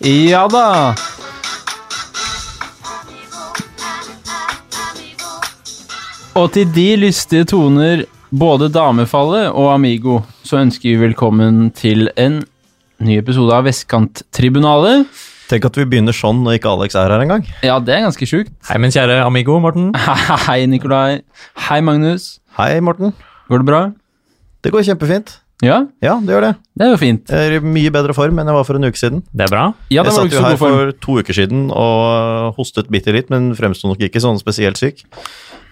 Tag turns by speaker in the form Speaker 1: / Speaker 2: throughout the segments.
Speaker 1: Ja da. Og til de lystige toner, både Damefallet og Amigo, så ønsker vi velkommen til en ny episode av Vestkanttribunalet.
Speaker 2: Tenk at vi begynner sånn når ikke Alex er her engang.
Speaker 1: Ja, det er ganske sjukt.
Speaker 3: Hei, min kjære amigo, Morten.
Speaker 1: Hei, Nikolai. Hei, Magnus.
Speaker 2: Hei, Morten.
Speaker 1: Går det bra?
Speaker 2: Det går kjempefint.
Speaker 1: Ja,
Speaker 2: Ja, det gjør det.
Speaker 1: det er jo fint.
Speaker 2: Jeg er i mye bedre form enn jeg var for en uke siden.
Speaker 3: Det er bra.
Speaker 1: Ja, det var
Speaker 2: jeg
Speaker 1: jo
Speaker 2: satt
Speaker 1: ikke
Speaker 2: jo
Speaker 1: så
Speaker 2: her
Speaker 1: god form.
Speaker 2: for to uker siden og øh, hostet bitte litt, men fremsto nok ikke sånn spesielt syk.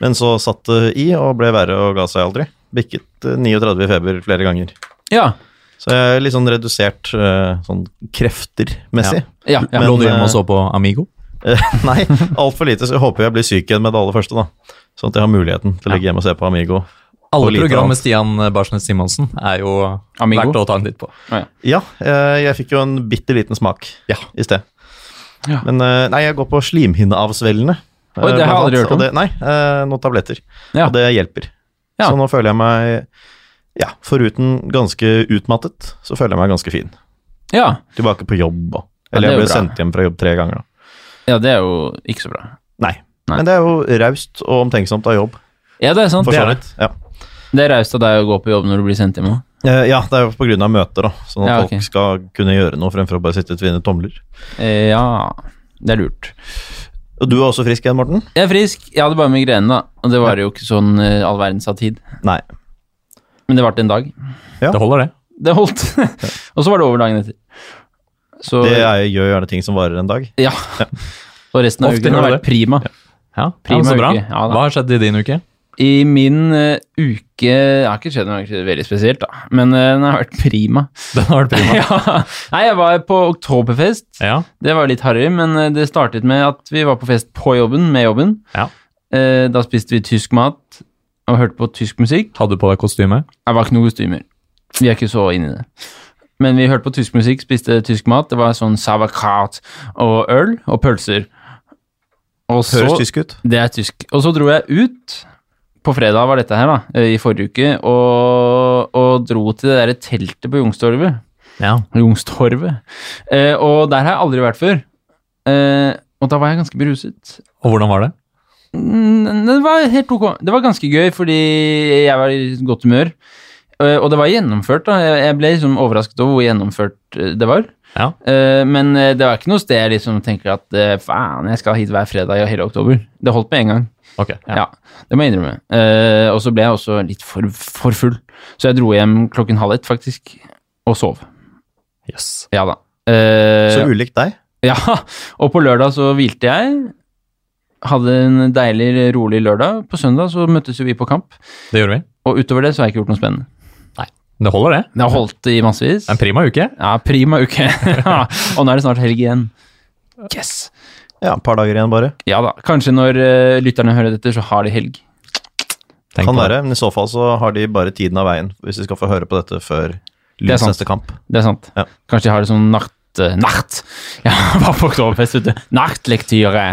Speaker 2: Men så satt det i og ble verre og ga seg aldri. Bikket eh, 39 i feber flere ganger.
Speaker 1: Ja,
Speaker 2: Så jeg er litt sånn redusert eh, sånn krefter-messig.
Speaker 1: ja, ja.
Speaker 2: Men-
Speaker 3: Lå du hjemme og så på Amigo?
Speaker 2: Eh, Nei, altfor lite, så jeg håper jeg blir syk igjen med det aller første, da. Sånn at jeg har muligheten til å ligge hjemme og se på Amigo.
Speaker 3: Alle
Speaker 2: Og lite
Speaker 3: program med
Speaker 2: annet.
Speaker 3: Stian Barsnes Simonsen er jo
Speaker 1: Amigo.
Speaker 3: verdt å ta en titt på.
Speaker 2: Ja, eh, jeg fikk jo en bitte liten smak
Speaker 3: Ja.
Speaker 2: i sted.
Speaker 1: Ja.
Speaker 2: Men eh, nei, jeg går på slimhinneavsvellende. eh,
Speaker 1: Oi, det har jeg
Speaker 2: blant
Speaker 1: aldri
Speaker 2: annet,
Speaker 1: hørt om.
Speaker 2: og Det, nei, eh, noen tabletter.
Speaker 1: Ja.
Speaker 2: Og det hjelper.
Speaker 1: Ja.
Speaker 2: Så nå føler jeg meg ja, foruten ganske utmattet, så føler jeg meg ganske fin.
Speaker 1: ja.
Speaker 2: Tilbake på jobb og
Speaker 1: Ja, det
Speaker 2: Eller
Speaker 1: er
Speaker 2: jeg
Speaker 1: jo
Speaker 2: ble
Speaker 1: bra.
Speaker 2: sendt hjem fra jobb tre ganger, da.
Speaker 1: ja, det er jo ikke så bra.
Speaker 2: Nei.
Speaker 1: Nei.
Speaker 2: Men det er jo raust og omtenksomt av jobb,
Speaker 1: Ja, det er sant.
Speaker 2: for
Speaker 1: Det
Speaker 2: så
Speaker 1: er-
Speaker 2: vidt. Ja.
Speaker 1: Det er raust av deg å gå på jobb når du blir sendt hjem òg.
Speaker 2: Eh, ja, det er jo på grunn av møter, da. Sånn at
Speaker 1: Ja, ok.
Speaker 2: folk skal kunne gjøre noe fremfor å bare sitte og tvinne tomler.
Speaker 1: Eh, ja, det er lurt.
Speaker 2: Og du er også frisk igjen, Morten?
Speaker 1: Jeg er frisk. Jeg hadde bare migrene, da. Og det var jo ikke sånn eh, all verdens av tid.
Speaker 2: Nei.
Speaker 1: Men det varte en dag.
Speaker 3: Det holder, det.
Speaker 1: Det holdt. og så var det over dagen etter. Så
Speaker 2: Det er, gjør gjerne ting som varer en dag.
Speaker 1: Ja. Og resten av
Speaker 3: Ofte
Speaker 1: uken
Speaker 3: gjør
Speaker 1: har
Speaker 3: det
Speaker 1: vært prima.
Speaker 3: Ja,
Speaker 1: Prima
Speaker 3: ja, så bra.
Speaker 1: uke. Ja, da.
Speaker 3: Hva har skjedd i din uke?
Speaker 1: I min eh, uke Det har ikke skjedd noe veldig spesielt, da. Men eh, den har vært prima.
Speaker 3: Den har vært prima.
Speaker 1: ja. Nei, jeg var på oktoberfest.
Speaker 3: Ja,
Speaker 1: Det var litt harry, men eh, det startet med at vi var på fest på jobben, med jobben.
Speaker 3: Ja.
Speaker 1: Eh, Da spiste vi tysk mat og hørte på tysk musikk.
Speaker 3: Hadde du på deg kostyme?
Speaker 1: Det var ikke noen kostymer. Vi er ikke så inne i det. Men vi hørte på tysk musikk, spiste tysk mat. Det var sånn sauerkraut og øl og pølser. Og så,
Speaker 2: Høres tysk ut.
Speaker 1: det er tysk. Og så dro jeg ut på fredag, var dette her, da, eh, i forrige uke, og, og dro til det derre teltet på Youngstorget.
Speaker 3: Ja.
Speaker 1: Youngstorget. Eh, og der har jeg aldri vært før. Eh, og da var jeg ganske beruset.
Speaker 3: Og hvordan var det?
Speaker 1: Mm, Det var helt ok. Det var ganske gøy, fordi jeg var i godt humør. Eh, Og det var gjennomført, da. Jeg- Jeg ble liksom overrasket over hvor gjennomført eh, det var.
Speaker 3: Ja.
Speaker 1: Eh, Men eh, det var ikke noe sted jeg liksom tenker at eh, faen, jeg skal hit hver fredag i hele oktober. Det holdt med en gang.
Speaker 3: Ok.
Speaker 1: Ja, det må jeg innrømme. Eh, og så ble jeg også litt for, for full, så jeg dro hjem klokken halv ett faktisk, og sov.
Speaker 3: Yes.
Speaker 1: Ja da. Eh,
Speaker 2: Så ulikt deg.
Speaker 1: ja, og på lørdag så hvilte jeg. Hadde en deilig, rolig lørdag. På søndag så møttes jo vi på kamp,
Speaker 3: Det gjorde vi.
Speaker 1: og utover det så har jeg ikke gjort noe spennende.
Speaker 3: Det holder, det.
Speaker 1: Det har holdt i massevis.
Speaker 3: En prima uke.
Speaker 1: Ja, prima uke. og nå er det snart helg igjen. Yes!
Speaker 2: Ja, et par dager igjen bare.
Speaker 1: Ja da. Kanskje når eh, lytterne hører dette, så har de helg.
Speaker 3: Tenk
Speaker 2: kan
Speaker 3: på det.
Speaker 2: være, men i så fall så har de bare tiden av veien, hvis de skal få høre på dette før
Speaker 1: er
Speaker 2: Lyns
Speaker 1: sant.
Speaker 2: neste kamp.
Speaker 1: Det er sant.
Speaker 2: Ja.
Speaker 1: Kanskje de har det sånn natt... eh, natt! Ja, var på oktoberfest, vet du. Nattlektyre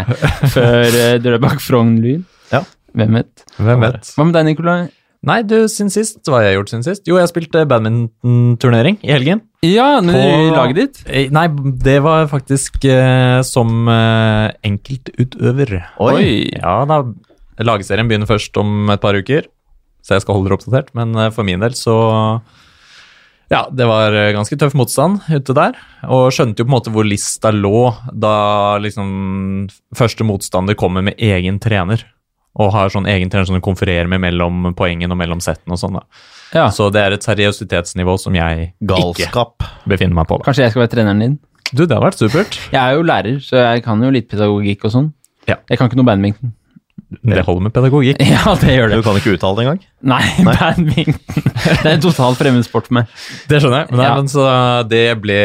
Speaker 1: før uh, Drøbak Frogn-Lyn.
Speaker 2: Ja.
Speaker 1: Hvem vet?
Speaker 3: Hvem vet.
Speaker 1: Hva med deg, Nikolai?
Speaker 3: Nei, du, siden sist, hva har jeg gjort siden sist? Jo, jeg spilte badminton-turnering i helgen.
Speaker 1: Ja, men i
Speaker 3: På-
Speaker 1: laget ditt?
Speaker 3: Eh, Nei, det var faktisk eh, som eh, enkeltutøver. Ja da, lagserien begynner først om et par uker, så jeg skal holde dere oppdatert. Men eh, for min del så Ja, det var eh, ganske tøff motstand ute der. Og skjønte jo på en måte hvor lista lå da liksom første motstander kommer med egen trener. Og har sånn egen trener som du konfererer med mellom poengene og mellom settene og sånn. da.
Speaker 1: Ja.
Speaker 3: Så det er et seriøsitetsnivå som jeg ikke
Speaker 2: Galskap.
Speaker 3: befinner meg på. da.
Speaker 1: Kanskje jeg skal være treneren din?
Speaker 3: Du, det har vært supert.
Speaker 1: Jeg er jo lærer, så jeg kan jo litt pedagogikk og sånn.
Speaker 3: Ja.
Speaker 1: Jeg kan ikke noe badminton.
Speaker 3: Det holder med pedagogikk.
Speaker 1: Ja, det gjør
Speaker 2: Du
Speaker 1: det.
Speaker 2: kan ikke uttale det engang.
Speaker 1: Nei, badminton. Det er en totalt fremmed sport for meg.
Speaker 3: Det skjønner jeg. Nei,
Speaker 1: Ja.
Speaker 3: men så eh, det ble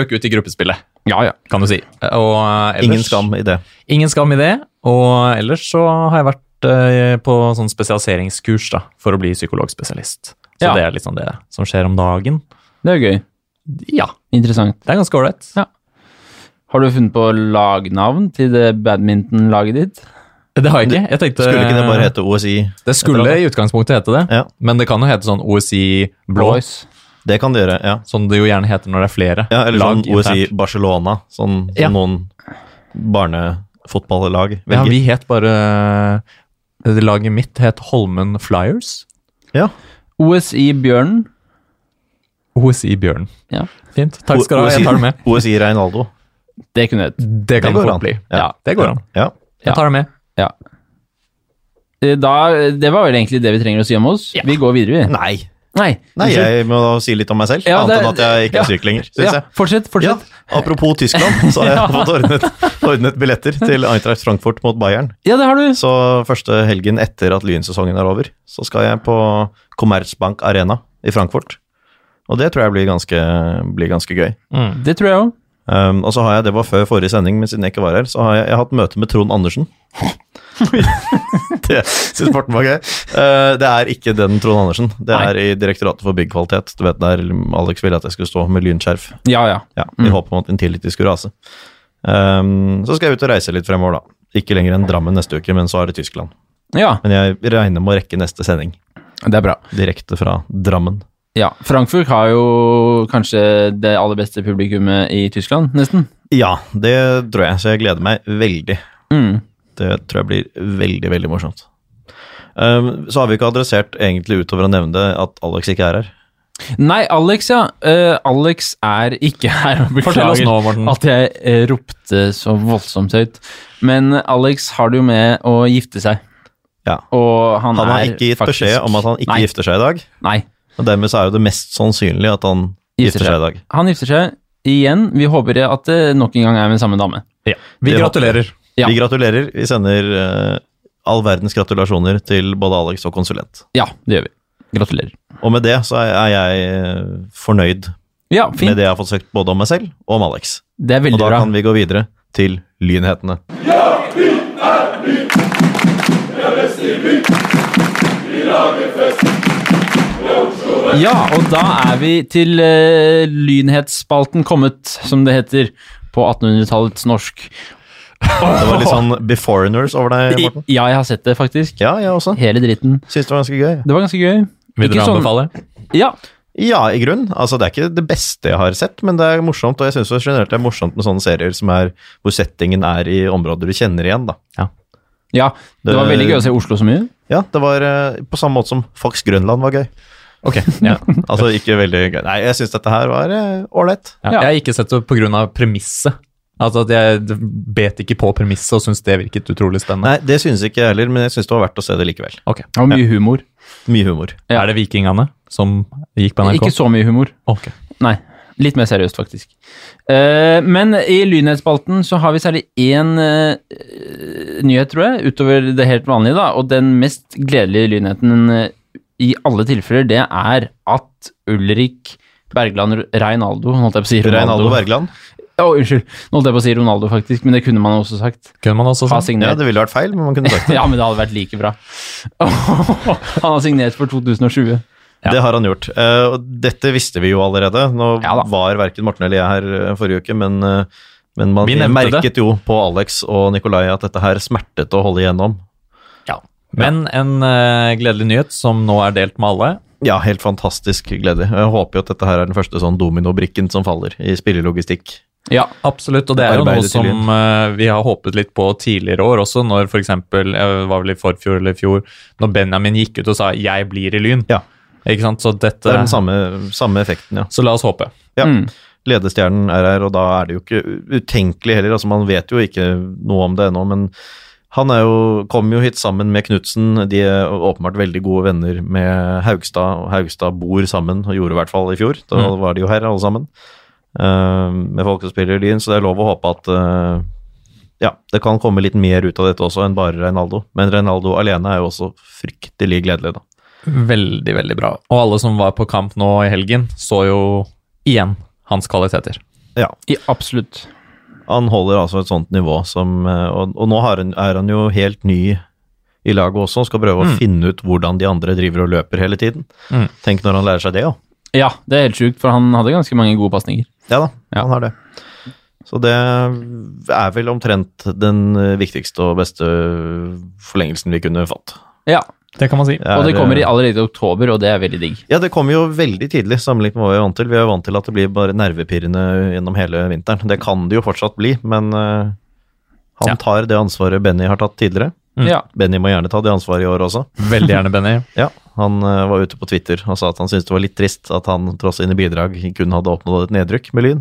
Speaker 3: røk ut i gruppespillet.
Speaker 1: Ja, ja.
Speaker 3: kan du si. Og eh, ellers,
Speaker 2: Ingen skam i det.
Speaker 3: Ingen skam i det. Og ellers så har jeg vært eh, på sånn spesialiseringskurs da, for å bli psykologspesialist. Så
Speaker 1: Ja.
Speaker 3: det er liksom det som skjer om dagen.
Speaker 1: Det er jo gøy.
Speaker 3: Ja,
Speaker 1: Interessant.
Speaker 3: det er ganske ålreit.
Speaker 1: Ja. Har du funnet på lagnavn til det badmintonlaget ditt?
Speaker 3: Det har jeg ikke. Jeg tenkte,
Speaker 2: Skulle ikke det bare hete OSI?
Speaker 3: Det skulle i utgangspunktet hete det,
Speaker 2: Ja.
Speaker 3: men det kan jo hete sånn OSI Blå.
Speaker 1: Boys.
Speaker 2: Det kan det gjøre, ja.
Speaker 3: Som det jo gjerne heter når det er flere
Speaker 2: ja eller sånn OSI
Speaker 3: internt.
Speaker 2: Barcelona, sånn som
Speaker 3: Ja.
Speaker 2: noen barnefotballag
Speaker 3: Ja,
Speaker 2: velger.
Speaker 3: vi het bare det Laget mitt het Holmen Flyers.
Speaker 2: Ja,
Speaker 1: OSI Bjørnen.
Speaker 3: OSI Bjørn.
Speaker 1: Ja.
Speaker 3: Fint. Takk skal du ha, jeg tar det med.
Speaker 2: OSI Reinaldo.
Speaker 1: Det kunne hett.
Speaker 3: Det
Speaker 2: Det går
Speaker 3: kan det
Speaker 2: an.
Speaker 3: fort bli.
Speaker 2: Ja.
Speaker 3: Ja, det går an.
Speaker 2: Ja.
Speaker 1: Ja.
Speaker 3: Jeg tar det med.
Speaker 1: Ja. Eh, Da, det var vel egentlig det vi trenger å si om oss. Vi går videre, vi.
Speaker 2: Nei.
Speaker 1: Nei.
Speaker 2: Nei, jeg må da si litt om meg selv,
Speaker 1: Ja,
Speaker 2: annet enn
Speaker 1: det-
Speaker 2: at jeg ikke er syk lenger, syns
Speaker 1: ja,
Speaker 2: jeg.
Speaker 1: fortsett,
Speaker 2: Ja,
Speaker 1: fortsett.
Speaker 2: apropos Tyskland, så har jeg fått ordnet, ordnet billetter til Eintracht Frankfurt mot Bayern.
Speaker 1: Ja, det har du.
Speaker 2: Så første helgen etter at lynsesongen er over, så skal jeg på Commerzbank Arena i Frankfurt. Og det tror jeg blir ganske, blir ganske gøy.
Speaker 1: Det tror jeg òg.
Speaker 2: Um, og så har jeg, det var før forrige sending, men siden jeg ikke var her, så har jeg, jeg har hatt møte med Trond Andersen. det syns Morten var gøy. Uh, det er ikke den Trond Andersen. Det er i Direktoratet for byggkvalitet. Du vet der Alex ville at jeg skulle stå med lynskjerf.
Speaker 1: Ja, ja.
Speaker 2: Ja, I håp om at Intility skulle rase. Um, så skal jeg ut og reise litt fremover, da. Ikke lenger enn Drammen neste uke, men så er det Tyskland.
Speaker 1: Ja,
Speaker 2: Men jeg regner med å rekke neste sending
Speaker 1: det er bra.
Speaker 2: direkte fra Drammen.
Speaker 1: Ja, Frankfurt har jo kanskje det aller beste publikummet i Tyskland, nesten.
Speaker 2: Ja, det tror jeg, så jeg gleder meg veldig.
Speaker 1: Mm.
Speaker 2: Det tror jeg blir veldig, veldig morsomt. Um, så har vi ikke adressert egentlig utover å nevne det at Alex ikke er her.
Speaker 1: Nei, Alex, ja. Eh, Alex er ikke her. og
Speaker 3: Fortell oss
Speaker 1: beklager
Speaker 3: nå, Morten.
Speaker 1: At jeg eh, ropte så voldsomt høyt. Men Alex har det jo med å gifte seg.
Speaker 2: Ja.
Speaker 1: Og han,
Speaker 2: Han har
Speaker 1: er
Speaker 2: ikke gitt
Speaker 1: faktisk...
Speaker 2: beskjed om at han ikke
Speaker 1: Nei.
Speaker 2: gifter seg i dag,
Speaker 1: Nei.
Speaker 2: og dermed så er jo det mest sannsynlig at han
Speaker 1: Gifter
Speaker 2: gifter seg i dag.
Speaker 1: Han gifter seg igjen. Vi håper at det nok en gang er med samme dame.
Speaker 3: Ja. Vi
Speaker 2: Det var-
Speaker 3: gratulerer.
Speaker 1: Ja.
Speaker 2: Vi gratulerer. Vi sender eh, all verdens gratulasjoner til både Alex og konsulent.
Speaker 1: Ja, det gjør vi. Gratulerer.
Speaker 2: Og med det så er er jeg eh, fornøyd
Speaker 1: Ja,
Speaker 2: med
Speaker 1: fint.
Speaker 2: det jeg har fått sagt både om meg selv og om Alex.
Speaker 1: Det er
Speaker 2: Og
Speaker 1: veldig
Speaker 2: da
Speaker 1: bra.
Speaker 2: kan vi gå videre til lynhetene.
Speaker 1: Ja, og da er vi til eh, lynhetsspalten kommet, som det heter på 1800-tallets norsk.
Speaker 2: Det var litt sånn beforeigners over deg,
Speaker 1: I,
Speaker 2: Morten.
Speaker 1: ja, jeg har sett det, faktisk.
Speaker 2: Ja, jeg også.
Speaker 1: Hele dritten.
Speaker 2: Syns det var ganske gøy.
Speaker 1: Det var ganske gøy.
Speaker 3: Vil
Speaker 1: Ikke
Speaker 3: dere
Speaker 1: sånn-
Speaker 3: anbefale?
Speaker 1: Ja,
Speaker 2: Ja, i grunn. Altså, det er ikke det beste jeg har sett, men det er morsomt. Og jeg syns generelt det er morsomt med sånne serier som er, hvor settingen er i områder du kjenner igjen, da.
Speaker 1: ja. Det,
Speaker 2: Det-
Speaker 1: var veldig gøy å se Oslo så mye.
Speaker 2: Ja, det var eh, på samme måte som Fox Grønland var gøy.
Speaker 3: Ok. Ja.
Speaker 2: Altså ikke veldig gøy. Nei, jeg syns dette her var eh, ålreit.
Speaker 3: Ja.
Speaker 1: Ja.
Speaker 3: Jeg har ikke sett det pga. premisset. Altså at jeg bet ikke på premisset og syns det virket utrolig spennende.
Speaker 2: Nei, det syns ikke jeg heller, men jeg syns det var verdt å se det likevel.
Speaker 3: Ok.
Speaker 1: Det var mye humor.
Speaker 2: Mye humor.
Speaker 1: Ja.
Speaker 3: Er det vikingene som gikk på NRK?
Speaker 1: Ikke så mye humor.
Speaker 3: Ok.
Speaker 1: Nei. Litt mer seriøst, faktisk. Eh, men i lynhetsspalten så har vi særlig én eh, nyhet, tror jeg, utover det helt vanlige, da. Og den mest gledelige lynheten eh, i alle tilfeller, det er at Ulrik Bergland Reinaldo holdt jeg på å si
Speaker 2: Reinaldo Wergeland.
Speaker 1: Å, unnskyld. Nå holdt jeg på å si Ronaldo, faktisk, men det kunne man også sagt.
Speaker 3: Kunne man også
Speaker 1: Har
Speaker 2: Ja,
Speaker 3: sagt.
Speaker 1: signert.
Speaker 2: det ville vært feil, men man kunne sagt det.
Speaker 1: Ja, men det hadde vært like bra. Han har signert for 2020.
Speaker 2: Det har han gjort. Eh, og dette visste vi jo allerede. Nå
Speaker 1: Ja da.
Speaker 2: var verken Morten eller jeg her eh, forrige uke, men, eh, men man
Speaker 3: Vi nevnte
Speaker 2: merket
Speaker 3: det.
Speaker 2: jo på Alex og Nikolai at dette her smertet å holde igjennom.
Speaker 3: Men en eh, gledelig nyhet som nå er delt med alle.
Speaker 2: Ja, helt fantastisk glede. Jeg håper jo at dette her er den første sånn dominobrikken som faller i spillelogistikk.
Speaker 1: Ja.
Speaker 3: Absolutt, og det er jo noe
Speaker 2: Arbeidet til
Speaker 3: som eh, vi har håpet litt på tidligere år også, når f.eks. var vel i forfjor eller i fjor, når Benjamin gikk ut og sa 'jeg blir i Lyn'.
Speaker 2: Ja.
Speaker 3: Ikke sant? Så dette
Speaker 2: Det er den samme, samme effekten, ja.
Speaker 3: Så la oss håpe.
Speaker 2: ja.
Speaker 1: Mm.
Speaker 2: Ledestjernen er her, og da er det jo ikke utenkelig heller. Altså, man vet jo ikke noe om det ennå, men han er jo, kom jo hit sammen med Knutsen. De er åpenbart veldig gode venner med Haugstad, og Haugstad bor sammen, og gjorde i hvert fall i fjor. Da
Speaker 3: Mm.
Speaker 2: var de jo her, alle sammen, eh, med folk som spiller i Lyn, så det er lov å håpe at eh, ja, det kan komme litt mer ut av dette også enn bare Reinaldo. Men Reinaldo alene er jo også fryktelig gledelig, da.
Speaker 3: Veldig, veldig bra. Og alle som var på kamp nå i helgen, så jo igjen hans kvaliteter.
Speaker 2: Ja,
Speaker 1: I, absolutt.
Speaker 2: Han holder altså et sånt nivå som eh, Og, og nå har han, er han jo helt ny i laget også, og skal prøve
Speaker 1: Mm.
Speaker 2: å finne ut hvordan de andre driver og løper hele tiden.
Speaker 3: Mm.
Speaker 2: Tenk når han lærer seg det, ja.
Speaker 1: Ja, det er helt sjukt, for han hadde ganske mange gode pasninger.
Speaker 2: Ja da,
Speaker 1: Ja.
Speaker 2: han har det. Så det er vel omtrent den eh, viktigste og beste forlengelsen vi kunne fått.
Speaker 1: Ja.
Speaker 3: Det kan man si.
Speaker 1: Og det
Speaker 2: er, eh,
Speaker 1: kommer i allerede i oktober, og det er veldig digg.
Speaker 2: Ja, det kommer jo veldig tidlig sammenlignet med hva vi er vant til. Vi er jo vant til at det blir bare nervepirrende gjennom hele vinteren. Det kan det jo fortsatt bli, men eh,
Speaker 3: Ja.
Speaker 2: han tar det ansvaret Benny har tatt tidligere.
Speaker 3: Mm.
Speaker 1: Ja.
Speaker 2: Benny må gjerne ta det ansvaret i år også.
Speaker 3: Veldig gjerne, Benny.
Speaker 2: Ja, han eh, var ute på Twitter og sa at han syntes det var litt trist at han tross sine bidrag kun hadde oppnådd et nedrykk med Lyn.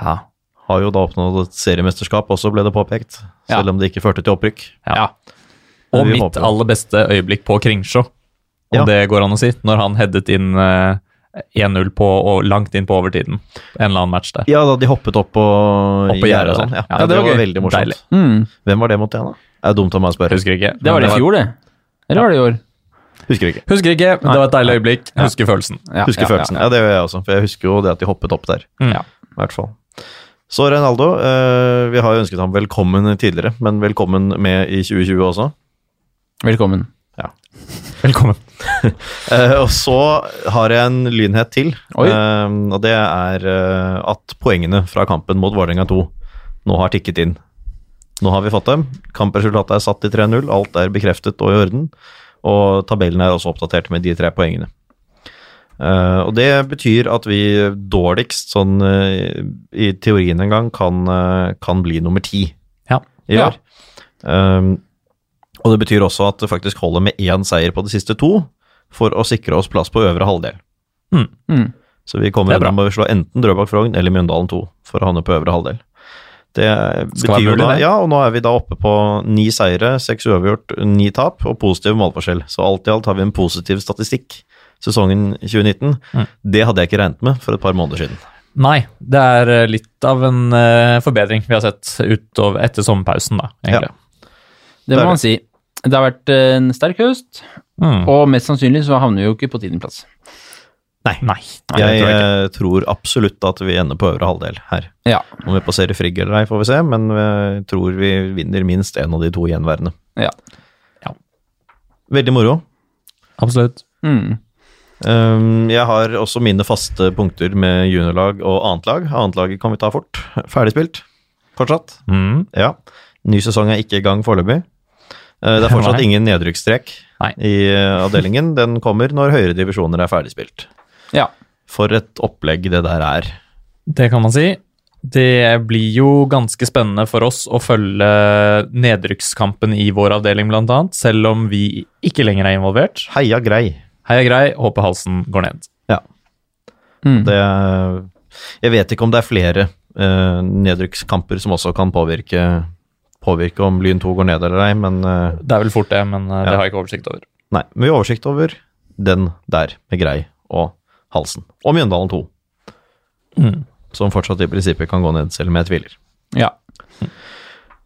Speaker 3: Ja.
Speaker 2: Har jo da oppnådd et seriemesterskap også, ble det påpekt.
Speaker 1: Ja.
Speaker 2: Selv om det ikke førte til opprykk.
Speaker 1: Ja.
Speaker 3: Og
Speaker 2: Vi
Speaker 3: mitt
Speaker 2: håper det.
Speaker 3: aller beste øyeblikk på Kringsjå, om
Speaker 2: Ja.
Speaker 3: det går an å si, når han headet inn eh, 1-0 på, og langt inn på overtiden. En eller annen match der.
Speaker 2: Ja, da de hoppet opp på,
Speaker 3: Opp
Speaker 2: gjerdet og
Speaker 3: på gjerdet
Speaker 2: sånn.
Speaker 3: der.
Speaker 2: Ja. Ja, det, var,
Speaker 3: gøy.
Speaker 2: veldig morsomt.
Speaker 3: Deilig.
Speaker 1: Mm.
Speaker 2: Hvem var det mot igjen, da? Det er dumt av meg å spørre.
Speaker 3: Husker ikke.
Speaker 1: Det var det i fjor, det. Eller var det i år?
Speaker 2: Husker ikke.
Speaker 3: Husker ikke, men det var et deilig øyeblikk. Husker følelsen.
Speaker 1: Ja,
Speaker 2: Husker
Speaker 1: ja,
Speaker 2: følelsen. Ja, det gjør jeg også, for jeg husker jo det at de hoppet opp der.
Speaker 3: Mm.
Speaker 1: Ja.
Speaker 2: I hvert fall. Så Reinaldo, eh, vi har jo ønsket ham velkommen tidligere, men velkommen med i 2020 også.
Speaker 1: Velkommen.
Speaker 3: Velkommen.
Speaker 2: Eh, og så har jeg en lynhet til,
Speaker 1: Oi.
Speaker 2: Eh, og det er eh, at poengene fra kampen mot Vålerenga 2 nå har tikket inn. Nå har vi fått dem. Kampresultatet er satt til 3-0, alt er bekreftet og i orden. Og tabellen er også oppdatert med de tre poengene. Eh, og det betyr at vi dårligst, sånn eh, i teorien en gang, kan, eh, kan bli nummer ti
Speaker 3: Ja.
Speaker 2: i
Speaker 1: Ja.
Speaker 2: år. Ehm, og det betyr også at det faktisk holder med én seier på de siste to for å sikre oss plass på øvre halvdel.
Speaker 1: Mm.
Speaker 2: Så vi
Speaker 3: Det
Speaker 2: kommer
Speaker 3: er bra.
Speaker 2: til å slå enten Drøbak Frogn eller Mjøndalen 2 for å havne på øvre halvdel. Det
Speaker 3: Skal være
Speaker 2: betyr jo
Speaker 3: mulig,
Speaker 2: da,
Speaker 3: det.
Speaker 2: ja, og nå er vi da oppe på ni seire, seks uavgjort, ni tap og positiv målforskjell. Så alt i alt har vi en positiv statistikk sesongen 2019.
Speaker 3: Mm.
Speaker 2: Det hadde jeg ikke regnet med for et par måneder siden.
Speaker 3: Nei, det er eh, litt av en eh, forbedring vi har sett utover etter sommerpausen, da, egentlig.
Speaker 1: Det
Speaker 2: Det
Speaker 1: må
Speaker 2: er
Speaker 1: man si. Det har vært eh, en sterk høst,
Speaker 3: Mm.
Speaker 1: og mest sannsynlig så havner vi jo ikke på tiendeplass.
Speaker 3: Nei. Nei. det
Speaker 2: Jeg,
Speaker 3: tror jeg ikke.
Speaker 2: eh, tror absolutt at vi ender på øvre halvdel her.
Speaker 1: Ja.
Speaker 2: Om vi passerer Frigg eller ei, får vi se, men jeg tror vi vinner minst en av de to gjenværende.
Speaker 1: ja.
Speaker 2: Veldig moro.
Speaker 3: Absolutt.
Speaker 1: Mm.
Speaker 2: Um, jeg har også mine faste punkter med juniorlag og annetlag. Annetlaget kan vi ta fort. Ferdigspilt. Fortsatt.
Speaker 3: Mm.
Speaker 2: Ja. Ny sesong er ikke i gang foreløpig. Uh, det er fortsatt
Speaker 3: Nei.
Speaker 2: ingen nedrykksstrek
Speaker 3: Nei.
Speaker 2: i uh, avdelingen. Den kommer når høyere divisjoner er ferdigspilt.
Speaker 1: ja.
Speaker 2: For et opplegg det der er.
Speaker 3: Det kan man si. Det blir jo ganske spennende for oss å følge nedrykkskampen i vår avdeling, blant annet, selv om vi ikke lenger er involvert.
Speaker 2: Heia grei.
Speaker 3: Heia grei, håper halsen går ned.
Speaker 2: Ja.
Speaker 1: Mm.
Speaker 2: Det er, eh, jeg vet ikke om det er flere uh, nedrykkskamper som også kan påvirke, påvirke om Lyn 2 går ned eller ei, men uh,
Speaker 3: Det er vel fort det, men eh,
Speaker 2: Ja.
Speaker 3: det har jeg ikke oversikt over.
Speaker 2: Nei, mye oversikt over den der med Grei og Halsen. Og Mjøndalen 2,
Speaker 3: Mm.
Speaker 2: som fortsatt i prinsippet kan gå ned, selv om jeg tviler.
Speaker 1: ja.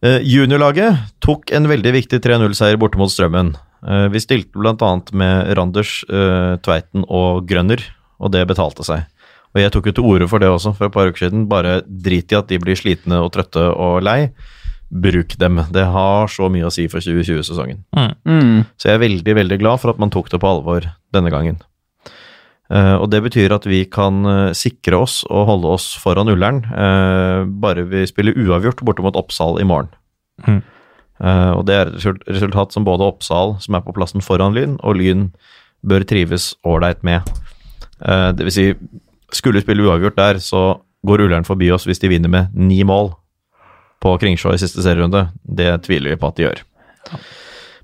Speaker 2: Eh, juniorlaget tok en veldig viktig 3-0-seier borte mot Strømmen. Eh, vi stilte bl.a. med Randers, eh, Tveiten og Grønner, og det betalte seg. Og jeg tok jo til orde for det også for et par uker siden. Bare drit i at de blir slitne og trøtte og lei. Bruk dem. Det har så mye å si for 2020-sesongen.
Speaker 1: Mm.
Speaker 2: Så jeg er veldig, veldig glad for at man tok det på alvor denne gangen. Eh, og det betyr at vi kan eh, sikre oss og holde oss foran Ullern, eh, bare vi spiller uavgjort borte mot Oppsal i morgen.
Speaker 3: Mhm.
Speaker 2: Eh, og det er et resul- resultat som både Oppsal, som er på plassen foran Lyn, og Lyn bør trives ålreit med. Eh, det vil si, skulle vi spille uavgjort der, så går Ullern forbi oss hvis de vinner med ni mål på Kringsjå i siste serierunde. Det tviler vi på at de gjør.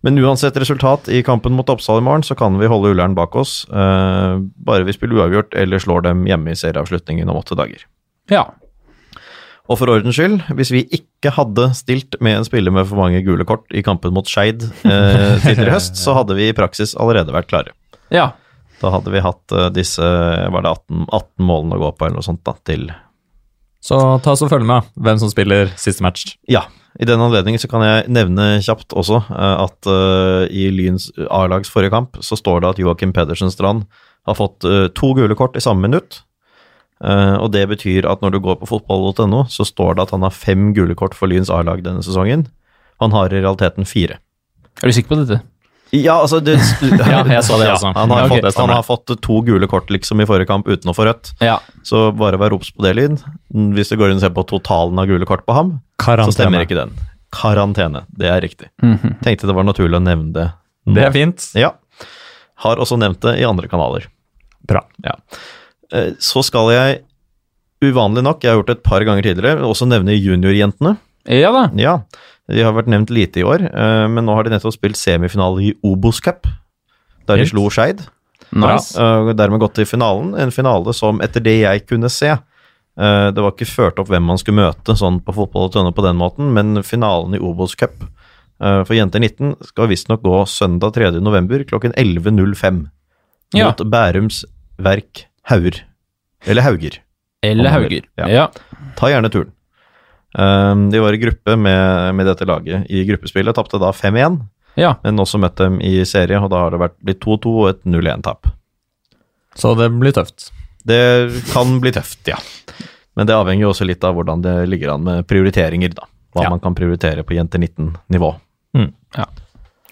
Speaker 2: Men uansett resultat i kampen mot Oppsal i morgen, så kan vi holde Ullern bak oss. eh, bare vi spiller uavgjort eller slår dem hjemme i serieavslutningen om åtte dager.
Speaker 1: ja.
Speaker 2: Og for ordens skyld, hvis vi ikke hadde stilt med en spiller med for mange gule kort i kampen mot Skeid eh, tidligere i høst, så hadde vi i praksis allerede vært klare.
Speaker 1: Ja.
Speaker 2: Da hadde vi hatt eh, disse var det 18, 18 målene å gå på, eller noe sånt, da, til
Speaker 3: Så ta oss og følg med hvem som spiller siste match.
Speaker 2: Ja. I den anledning så kan jeg nevne kjapt også eh, at eh, i Lyns A-lags forrige kamp så står det at Joakim Pedersen Strand har fått eh, to gule kort i samme minutt. Eh, og det betyr at når du går på fotball.no, så står det at han har fem gule kort for Lyns A-lag denne sesongen. Han har i realiteten fire.
Speaker 1: Er du sikker på dette?
Speaker 2: Ja, altså det, altså.
Speaker 3: Ja, jeg så det
Speaker 2: Ja,
Speaker 3: også.
Speaker 2: Han har,
Speaker 3: Ja, ok, det
Speaker 2: fått, han
Speaker 3: stemmer.
Speaker 2: har fått to gule kort liksom i forrige kamp uten å få rødt.
Speaker 1: Ja.
Speaker 2: Så bare vær obs på det, Lyn. Hvis du går inn og ser på totalen av gule kort på ham,
Speaker 3: Karantene.
Speaker 2: så stemmer ikke den. Karantene, det er riktig.
Speaker 1: Mhm.
Speaker 2: Tenkte det var naturlig å nevne det. nå.
Speaker 3: Det er fint.
Speaker 2: Ja. Har også nevnt det i andre kanaler.
Speaker 3: Bra.
Speaker 2: Ja. Eh, Så skal jeg, uvanlig nok, jeg har gjort det et par ganger tidligere, også nevne juniorjentene.
Speaker 1: Ja da.
Speaker 2: Ja, de har vært nevnt lite i år, eh, men nå har de nettopp spilt semifinale i Obos Cup, der de
Speaker 3: Fint.
Speaker 2: slo Skeid.
Speaker 1: Nice.
Speaker 2: eh, Og dermed gått til finalen, en finale som etter det jeg kunne se eh, Det var ikke ført opp hvem man skulle møte sånn på fotball og tønne på den måten, men finalen i Obos Cup eh, for jenter 19 skal visstnok gå søndag 3. november klokken 11.05
Speaker 1: Ja.
Speaker 2: mot Bærums Verk Hauger. Eller Hauger.
Speaker 1: Eller Hauger.
Speaker 2: Ja.
Speaker 1: Ja.
Speaker 2: Ta gjerne turen. Ehm, de var i gruppe med, med dette laget i gruppespillet, tapte da 5-1,
Speaker 1: ja.
Speaker 2: men også møtt dem i serie, og da har det vært, blitt 2-2 og et 0-1-tap.
Speaker 3: Så det blir tøft.
Speaker 2: Det kan bli tøft, ja. Men det avhenger jo også litt av hvordan det ligger an med prioriteringer, da. Hva
Speaker 3: Ja.
Speaker 2: man kan prioritere på jenter 19-nivå.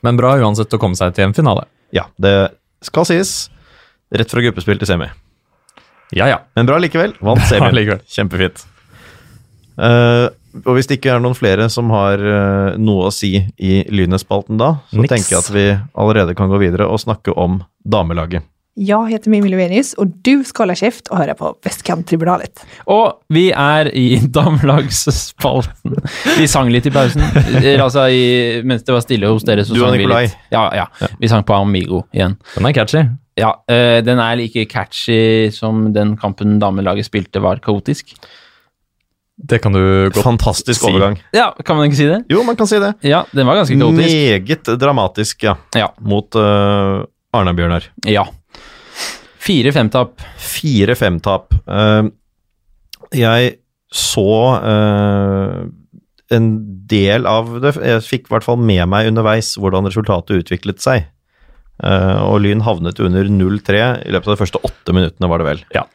Speaker 3: Men bra uansett å komme seg til en finale.
Speaker 2: Ja, det skal sies. Rett fra gruppespill til semi.
Speaker 3: Ja, ja.
Speaker 2: Men bra likevel. Vant semien.
Speaker 3: likevel.
Speaker 2: Kjempefint. Eh, og hvis det ikke er noen flere som har eh, noe å si i Lynet-spalten da, så
Speaker 3: Niks.
Speaker 2: tenker jeg at vi allerede kan gå videre og snakke om damelaget.
Speaker 4: Jeg heter Mimmi Lovenius, og du skal holde kjeft og høre på Vestkanttribunalet.
Speaker 1: Og vi er i damelagsspalten. Vi sang litt i pausen. Eh, Altså i, mens det var stille hos dere, så
Speaker 2: Du og
Speaker 1: sang vi
Speaker 2: Nikolai.
Speaker 1: litt. Ja, ja. Vi sang på Amigo igjen.
Speaker 3: Den er catchy.
Speaker 1: Ja, eh, den er like catchy som den kampen damelaget spilte var kaotisk.
Speaker 3: Det kan du godt
Speaker 2: Fantastisk
Speaker 3: si.
Speaker 2: overgang.
Speaker 1: Ja, kan man ikke si det?
Speaker 2: Jo, man kan si det.
Speaker 1: Ja, den var ganske kaotisk.
Speaker 2: Meget dramatisk, ja.
Speaker 1: Ja.
Speaker 2: Mot uh, Arna-Bjørnar.
Speaker 1: Ja. Fire-fem-tap.
Speaker 2: Fire-fem-tap. Eh, jeg så eh, en del av det. Jeg fikk i hvert fall med meg underveis hvordan resultatet utviklet seg. Eh, og Lyn havnet under 0-3 i løpet av de første åtte minuttene, var det vel.
Speaker 3: Ja.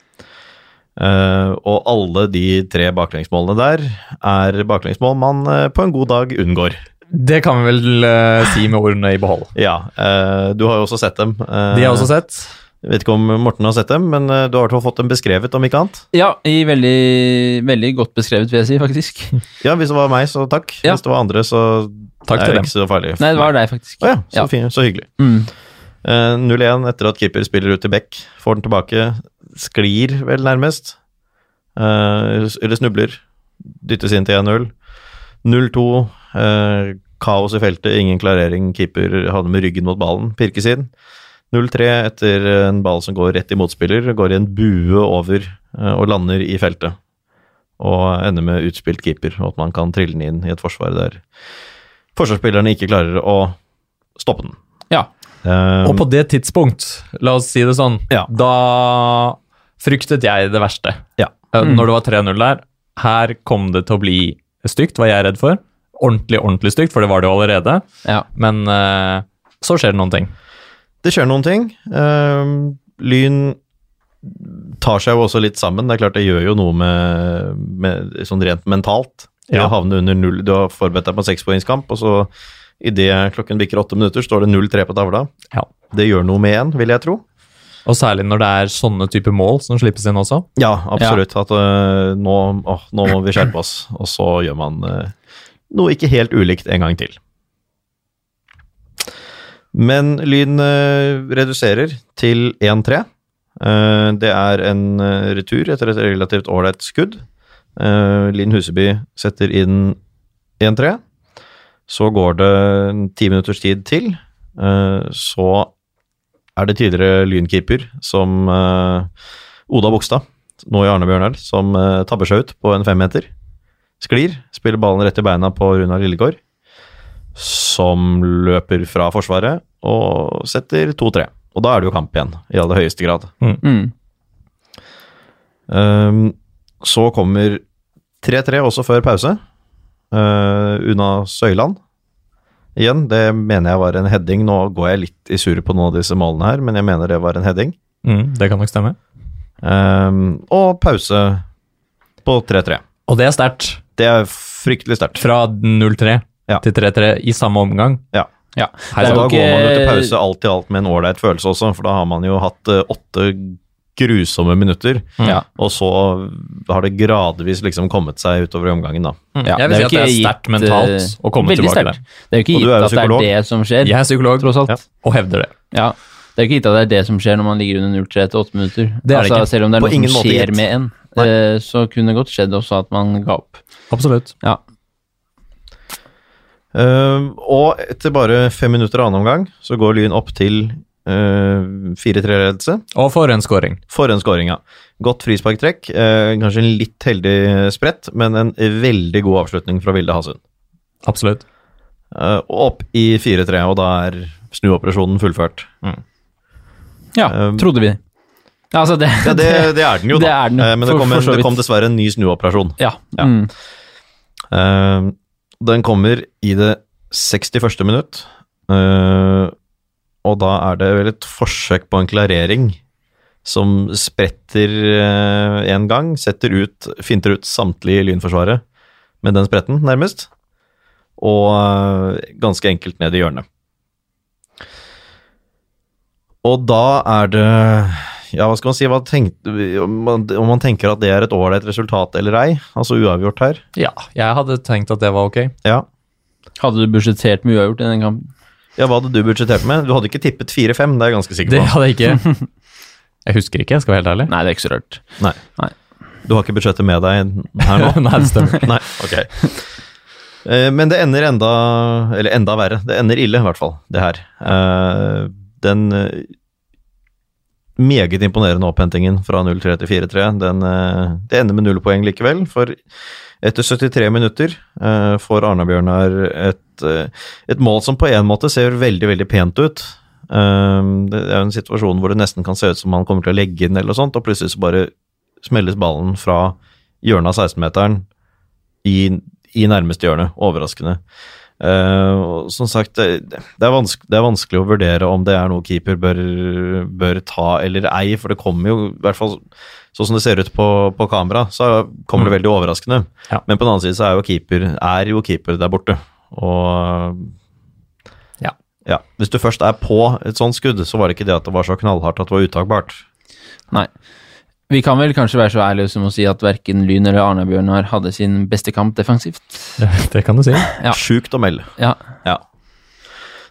Speaker 2: Eh, og alle de tre baklengsmålene der er baklengsmål man eh, på en god dag unngår.
Speaker 3: Det kan vi vel eh, si med ordene i behold.
Speaker 2: Ja, eh, du har jo også sett dem. eh,
Speaker 3: De har jeg også sett.
Speaker 2: Jeg vet ikke om Morten har sett dem, men eh, du har i hvert fall fått dem beskrevet, om ikke annet.
Speaker 1: Ja, i veldig, veldig godt beskrevet, vil jeg si, faktisk.
Speaker 2: Ja, hvis det var meg, så takk.
Speaker 1: Ja.
Speaker 2: Hvis det var andre, så
Speaker 3: Takk
Speaker 2: er
Speaker 3: til
Speaker 2: det
Speaker 3: dem.
Speaker 2: ikke så farlig.
Speaker 1: Nei, det var deg, faktisk.
Speaker 2: Å ja, så
Speaker 1: Ja.
Speaker 2: fint, så hyggelig.
Speaker 1: Mm.
Speaker 2: Eh, 0-1 etter at keeper spiller ut til Beck, får den tilbake, sklir vel nærmest. Eh, eller snubler. Dyttes inn til 1-0. 0-2. eh, kaos i feltet, ingen klarering. Keeper hadde med ryggen mot ballen, pirkes inn. 0-3 etter en ball som går rett i motspiller, går i en bue over eh, og lander i feltet. Og ender med utspilt keeper, og at man kan trille den inn i et forsvar der forsvarsspillerne ikke klarer å stoppe den.
Speaker 1: Ja.
Speaker 2: Eh,
Speaker 3: Og på det tidspunkt, la oss si det sånn,
Speaker 2: Ja.
Speaker 3: da fryktet jeg det verste.
Speaker 2: Ja.
Speaker 3: Eh,
Speaker 1: Mm.
Speaker 3: Når det var 3-0 der, her kom det til å bli stygt, var jeg redd for. Ordentlig, ordentlig stygt, for det var det jo allerede.
Speaker 1: Ja.
Speaker 3: Men eh, så skjer det noen ting.
Speaker 2: Det skjer noen ting. Ehm, lyn tar seg jo også litt sammen. Det er klart det gjør jo noe med, med sånn rent mentalt. Det
Speaker 3: Ja.
Speaker 2: å havne under null. Du har forberedt deg på en sekspoengskamp, og så idet klokken bikker åtte minutter, står det 0-3 på tavla.
Speaker 3: Ja.
Speaker 2: Det gjør noe med en, vil jeg tro.
Speaker 3: Og særlig når det er sånne type mål som slippes inn også.
Speaker 2: Ja, absolutt. At øh, nå, åh, nå må vi skjerpe oss. Og så gjør man øh, noe ikke helt ulikt en gang til. Men Lyn øh, reduserer til 1-3. Eh, det er en øh, retur etter et relativt ålreit skudd. Eh, Linn Huseby setter inn 1-3. Så går det en ti minutters tid til. Eh, så er det tidligere Lynkeeper som eh, Oda Bogstad, nå i Arne Bjørnar, som eh, tabber seg ut på en femmeter. Sklir, spiller ballen rett i beina på Runar Lillegård, som løper fra forsvaret og setter 2-3. Og da er det jo kamp igjen, i aller høyeste grad.
Speaker 1: Mm.
Speaker 2: Ehm, så kommer 3-3 også før pause. eh, unna Søyland. Igjen, det mener jeg var en heading. Nå går jeg litt i surr på noen av disse målene her, men jeg mener det var en heading.
Speaker 3: Mm, det kan nok stemme.
Speaker 2: Ehm, og pause på 3-3.
Speaker 3: Og det er sterkt.
Speaker 2: Det er fryktelig sterkt.
Speaker 3: Fra 0-3
Speaker 2: Ja.
Speaker 3: til 3-3 i samme omgang.
Speaker 2: Ja.
Speaker 1: ja.
Speaker 3: Her
Speaker 1: Det er
Speaker 2: Så Altså, da
Speaker 1: jo
Speaker 2: går man jo til
Speaker 1: ikke-
Speaker 2: pause alt i alt med en ålreit følelse også, for da har man jo hatt eh, åtte grusomme minutter,
Speaker 1: Mm. Ja.
Speaker 2: og så har det gradvis liksom kommet seg utover i omgangen, da.
Speaker 1: Ja,
Speaker 3: jeg vil si at det er sterkt
Speaker 1: gitt,
Speaker 3: mentalt
Speaker 1: eh,
Speaker 3: å komme
Speaker 1: veldig
Speaker 3: tilbake
Speaker 1: sterkt. Det er jo ikke
Speaker 2: Og
Speaker 1: gitt
Speaker 2: du er jo
Speaker 1: at det er
Speaker 2: psykolog.
Speaker 1: det som skjer,
Speaker 3: Jeg er psykolog
Speaker 1: tross alt.
Speaker 2: Ja.
Speaker 3: og hevder det.
Speaker 1: Ja. Det er ikke gitt at det er det som skjer når man ligger under 0-3 etter 8 minutter.
Speaker 3: Det er det
Speaker 1: altså,
Speaker 3: ikke.
Speaker 1: Selv om det er
Speaker 2: På
Speaker 1: noe som
Speaker 2: ingen måte
Speaker 1: skjer
Speaker 2: gitt.
Speaker 1: med en,
Speaker 2: Nei.
Speaker 1: eh, så kunne det godt skjedd også at man ga opp.
Speaker 3: Absolutt.
Speaker 1: Ja.
Speaker 2: Eh, og etter bare fem minutter av annen omgang så går Lyn opp til eh, 4-3-ledelse.
Speaker 3: Og for en scoring.
Speaker 2: For en scoring, ja. Godt frisparktrekk. eh, kanskje en litt heldig sprett, men en veldig god avslutning fra Vilde Hasund.
Speaker 3: Absolutt.
Speaker 2: Eh, og opp i 4-3, og da er snuoperasjonen fullført.
Speaker 1: Ja,
Speaker 2: Um,
Speaker 1: trodde vi. Ja, altså det,
Speaker 2: Ja, det, det er den jo,
Speaker 1: Det
Speaker 2: da.
Speaker 1: er den,
Speaker 2: Eh, men det
Speaker 1: for-
Speaker 2: kom,
Speaker 1: for
Speaker 2: en,
Speaker 1: så
Speaker 2: det
Speaker 1: vidt.
Speaker 2: kom dessverre en ny snuoperasjon.
Speaker 1: ja.
Speaker 2: Ja.
Speaker 1: Mm.
Speaker 2: Eh, den kommer i det 61. minutt, eh, og da er det vel et forsøk på en klarering som spretter én gang, setter ut, finter ut samtlige i lynforsvaret med den spretten, nærmest, og eh, ganske enkelt ned i hjørnet. Og da er det Ja, hva skal man si? Hva tenkte, om, man, om man tenker at det er et ålreit resultat eller ei, altså uavgjort her.
Speaker 3: Ja, jeg hadde tenkt at det var ok.
Speaker 2: Ja.
Speaker 1: Hadde du budsjettert med uavgjort i den kampen?
Speaker 2: ja, hva hadde du budsjettert med? Du hadde ikke tippet 4-5, det er jeg ganske sikker
Speaker 3: Det
Speaker 2: på.
Speaker 3: hadde jeg ikke. Jeg husker ikke, jeg skal være helt ærlig.
Speaker 1: Nei, det er ikke så rart.
Speaker 2: Nei.
Speaker 1: Nei.
Speaker 2: Du har ikke budsjettet med deg her nå?
Speaker 3: Nei, det stemmer.
Speaker 2: Nei, ok. Eh, Men det ender enda Eller enda verre. Det ender ille, i hvert fall, det her. Eh, Den eh, meget imponerende opphentingen fra 0-3 til 4-3, den, eh, det ender med null poeng likevel. For etter 73 minutter eh, får Arna-Bjørnar et, eh, et mål som på en måte ser veldig, veldig pent ut. Eh, Det er jo en situasjon hvor det nesten kan se ut som han kommer til å legge den, eller noe sånt, og plutselig så bare smelles ballen fra hjørnet av 16-meteren i, i nærmeste hjørne. Overraskende. Eh, og som sagt, det, det, er vanske- det er vanskelig å vurdere om det er noe keeper bør, bør ta eller ei, for det kommer jo, i hvert fall sånn som det ser ut på, på kamera, så kommer det veldig overraskende.
Speaker 3: Ja.
Speaker 2: Men på den annen side så er jo keeper, er jo keeper der borte. Og
Speaker 3: Ja.
Speaker 2: ja. Hvis du først er på et sånt skudd, så var det ikke det at det var så knallhardt at det var uttakbart.
Speaker 1: Nei. Vi kan vel kanskje være så ærlige som å si at verken Lyn eller Arne-Bjørnar hadde sin beste kamp defensivt.
Speaker 3: Det kan du si.
Speaker 1: Ja.
Speaker 2: Sjukt å melde.
Speaker 1: Ja,
Speaker 2: Ja.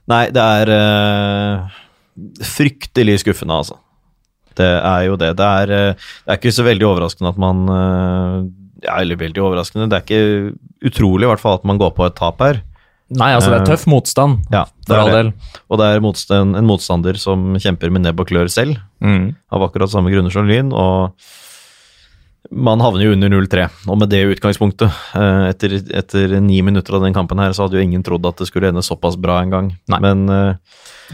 Speaker 2: Nei, det er eh, fryktelig skuffende, altså. Det er jo det. Det er, eh, det er ikke så veldig overraskende at man eh, ja, Eller veldig overraskende. Det er ikke utrolig i hvert fall at man går på et tap her.
Speaker 3: Nei, altså, det er tøff motstand,
Speaker 2: Ja, det
Speaker 3: for all
Speaker 2: er det.
Speaker 3: del.
Speaker 2: Og det er motstand, en motstander som kjemper med nebb og klør selv,
Speaker 3: Mm.
Speaker 2: av akkurat samme grunner som Lyn. og man havner jo under 0-3, og med det utgangspunktet, eh, etter, etter ni minutter av den kampen her, så hadde jo ingen trodd at det skulle ende såpass bra engang.
Speaker 3: Nei.
Speaker 2: Men eh,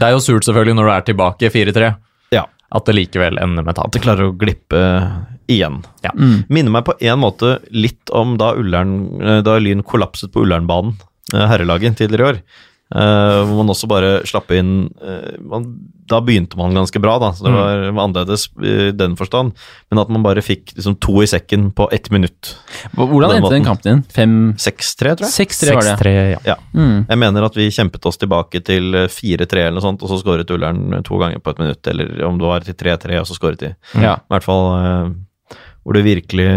Speaker 3: Det er jo surt, selvfølgelig, når du er tilbake 4-3,
Speaker 2: Ja.
Speaker 3: at det likevel ender med
Speaker 2: at
Speaker 3: tap.
Speaker 2: det klarer å glippe eh, igjen.
Speaker 3: Ja.
Speaker 1: Mm.
Speaker 2: Minner meg på en måte litt om da, Ullern, eh, da Lyn kollapset på Ullernbanen, eh, herrelaget, tidligere i år. Eh, hvor man også bare slapp inn eh, man, Da begynte man ganske bra, da, så det var, var annerledes i den forstand. Men at man bare fikk liksom, to i sekken på ett minutt.
Speaker 1: Hvordan
Speaker 2: På den
Speaker 1: endte den
Speaker 2: måten.
Speaker 1: kampen din? Fem
Speaker 2: 6-3, tror jeg.
Speaker 1: 6-3 var det.
Speaker 3: ja.
Speaker 1: Mm.
Speaker 2: Jeg mener at vi kjempet oss tilbake til eh, 4-3 eller noe sånt, og så skåret Ullern to ganger på et minutt, eller om det var til 3-3, og så skåret de.
Speaker 1: Ja.
Speaker 2: I hvert fall eh, hvor det virkelig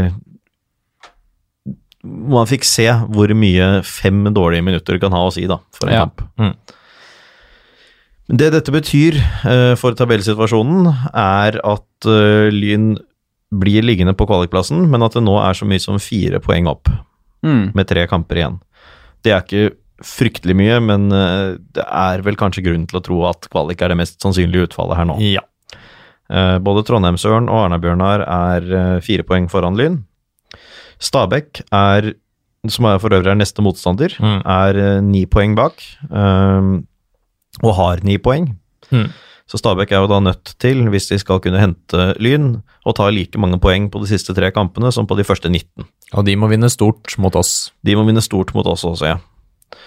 Speaker 2: hvor man fikk se hvor mye fem dårlige minutter kan ha å si da, for en
Speaker 1: Ja.
Speaker 2: kamp.
Speaker 3: Mm.
Speaker 2: Men Det dette betyr eh, for tabellsituasjonen, er at eh, Lyn blir liggende på kvalikplassen, men at det nå er så mye som fire poeng opp,
Speaker 1: Mm.
Speaker 2: med tre kamper igjen. Det er ikke fryktelig mye, men eh, det er vel kanskje grunn til å tro at kvalik er det mest sannsynlige utfallet her nå.
Speaker 3: Ja.
Speaker 2: Eh, Både Trondheimsøren og Arna-Bjørnar er eh, fire poeng foran Lyn. Stabæk er, som er for øvrig er neste motstander,
Speaker 3: Mm.
Speaker 2: er eh, ni poeng bak. eh, Og har ni poeng.
Speaker 3: Mm.
Speaker 2: Så Stabæk er jo da nødt til, hvis de skal kunne hente Lyn, å ta like mange poeng på de siste tre kampene som på de første 19.
Speaker 3: Og de må vinne stort mot oss.
Speaker 2: De må vinne stort mot oss også, ja.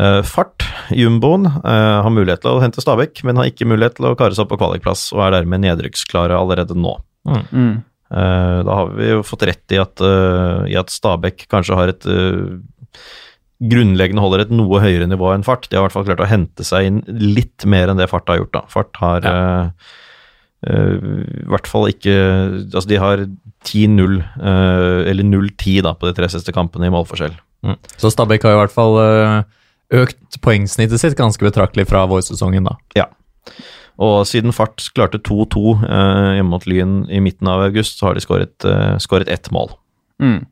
Speaker 2: Eh, Fart, jumboen, eh, har mulighet til å hente Stabæk, men har ikke mulighet til å kare seg opp på kvalikplass, og er dermed nedrykksklare allerede nå.
Speaker 1: Mm.
Speaker 2: Eh, Da har vi jo fått rett i at, eh, i at Stabæk kanskje har et eh, grunnleggende holder et noe høyere nivå enn Fart. De har i hvert fall klart å hente seg inn litt mer enn det Fart har gjort. da. Fart har eh, eh, i hvert fall ikke Altså, de har 10-0, eh, eller 0-10 da, på de tre siste kampene i målforskjell.
Speaker 3: Så Stabæk har i hvert eh, fall øh, økt poengsnittet sitt ganske betraktelig fra vårsesongen, da.
Speaker 2: Og siden Fart klarte 2-2 eh, hjemme mot Lyn i midten av august, så har de skåret eh, skåret ett mål.
Speaker 1: Mm.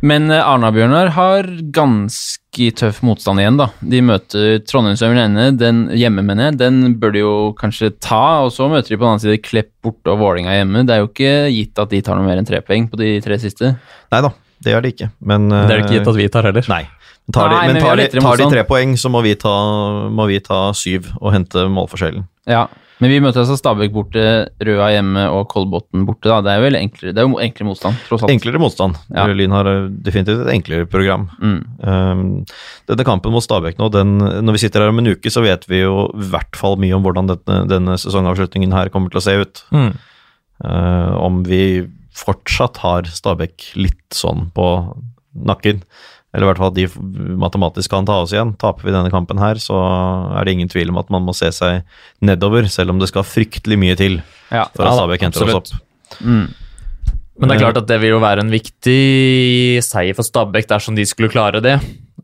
Speaker 1: Men eh, Arna-Bjørnar har ganske tøff motstand igjen, da. De møter Trondheimsøver ende, den hjemme, mener jeg. Den bør de jo kanskje ta, og så møter de på den annen side Klepp borte og Vålinga hjemme. Det er jo ikke gitt at de tar noe mer enn tre poeng på de tre siste.
Speaker 2: Nei da, det er det ikke. Men, eh,
Speaker 3: Det er det ikke gitt at vi tar heller.
Speaker 2: Nei. Tar de,
Speaker 1: Nei,
Speaker 2: men
Speaker 1: men vi har
Speaker 2: tar, de,
Speaker 1: lettere
Speaker 2: tar de
Speaker 1: motstand.
Speaker 2: tre poeng, så må vi, ta, må vi ta syv og hente målforskjellen.
Speaker 1: Ja, men vi møter altså Stabæk borte, Røa hjemme og Kolbotn borte, da. Det er vel enklere, det er jo enklere motstand, tross alt.
Speaker 2: Enklere motstand.
Speaker 1: Ja.
Speaker 2: Lyn har eh, definitivt et enklere program.
Speaker 1: Mm.
Speaker 2: Um, denne kampen mot Stabæk nå, den, når vi sitter her om en uke, så vet vi jo i hvert fall mye om hvordan denne, denne sesongavslutningen her kommer til å se ut.
Speaker 3: Mm.
Speaker 2: Eh, om vi fortsatt har Stabæk litt sånn på nakken, eller i hvert fall at de f- matematisk kan ta oss igjen. Taper vi denne kampen her, så er det ingen tvil om at man må se seg nedover, selv om det skal fryktelig mye til
Speaker 1: Ja.
Speaker 2: for at
Speaker 3: Ja,
Speaker 2: Stabæk henter
Speaker 3: absolutt.
Speaker 2: oss opp.
Speaker 1: Mm.
Speaker 3: Men det
Speaker 2: Eh.
Speaker 3: er klart at det vil jo være en viktig seier for Stabæk dersom de skulle klare det.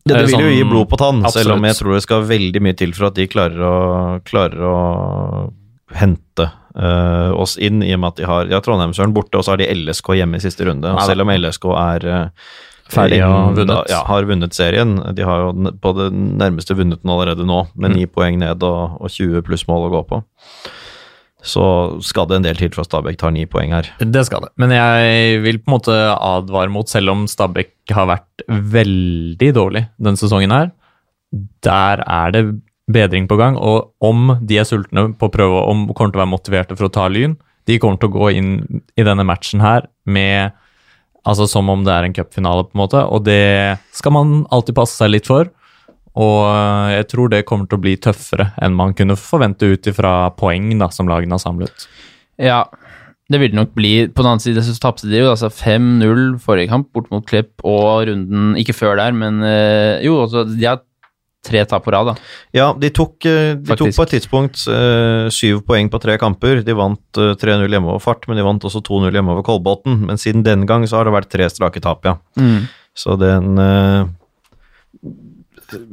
Speaker 2: Det,
Speaker 3: Eh,
Speaker 2: vil jo
Speaker 3: sånn-
Speaker 2: gi blod på tann, selv om
Speaker 3: absolutt.
Speaker 2: jeg tror det skal veldig mye til for at de klarer å, klarer å hente eh, oss inn, i og med at de har ja, Trondheimsøren borte, og så har de LSK hjemme i siste runde. Og
Speaker 3: Nei da.
Speaker 2: selv om LSK er eh,
Speaker 3: Ferdig og
Speaker 2: inn-
Speaker 3: vunnet.
Speaker 2: Ja, har vunnet serien. De har jo n- på det nærmeste vunnet den allerede nå, med
Speaker 3: Mm.
Speaker 2: ni poeng ned og, og 20 pluss mål å gå på. Så skal det en del til for at Stabæk tar ni poeng her.
Speaker 3: Det skal det. Men jeg vil på en måte advare mot, selv om Stabæk har vært veldig dårlig denne sesongen her, der er det bedring på gang. Og om de er sultne på å prøve, om kommer til å være motiverte for å ta Lyn, de kommer til å gå inn i denne matchen her med Altså som om det er en cupfinale, på en måte. Og det skal man alltid passe seg litt for. Og jeg tror det kommer til å bli tøffere enn man kunne forvente ut ifra poeng da, som lagene har samlet.
Speaker 1: Ja, det vil det nok bli. På den annen side så tapte de jo altså 5-0 forrige kamp bort mot Klepp og runden Ikke før der, men eh, jo, altså de har tre tap på rad, da.
Speaker 2: Ja, de tok, eh, de tok
Speaker 1: Faktisk.
Speaker 2: på et tidspunkt eh, syv poeng på tre kamper. De vant eh, 3-0 hjemme over Fart, men de vant også 2-0 hjemme over Kolbotn. Men siden den gang så har det vært tre strake tap, ja.
Speaker 1: Mm.
Speaker 2: Så den eh,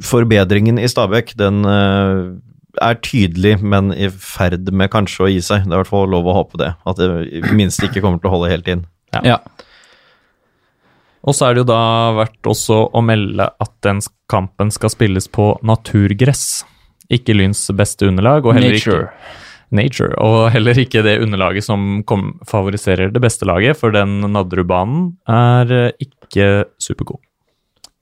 Speaker 2: forbedringen i Stabæk, den eh, er tydelig, men i ferd med kanskje å gi seg. Det er i hvert fall lov å håpe det. At det minst ikke kommer til å holde helt inn.
Speaker 1: Ja.
Speaker 3: Og så er det jo da verdt også å melde at den kampen skal spilles på naturgress. Ikke Lyns beste underlag, og heller
Speaker 1: Nature.
Speaker 3: ikke Nature. Og heller ikke det underlaget som kom, favoriserer det beste laget, for den Nadderudbanen er eh, ikke supergod.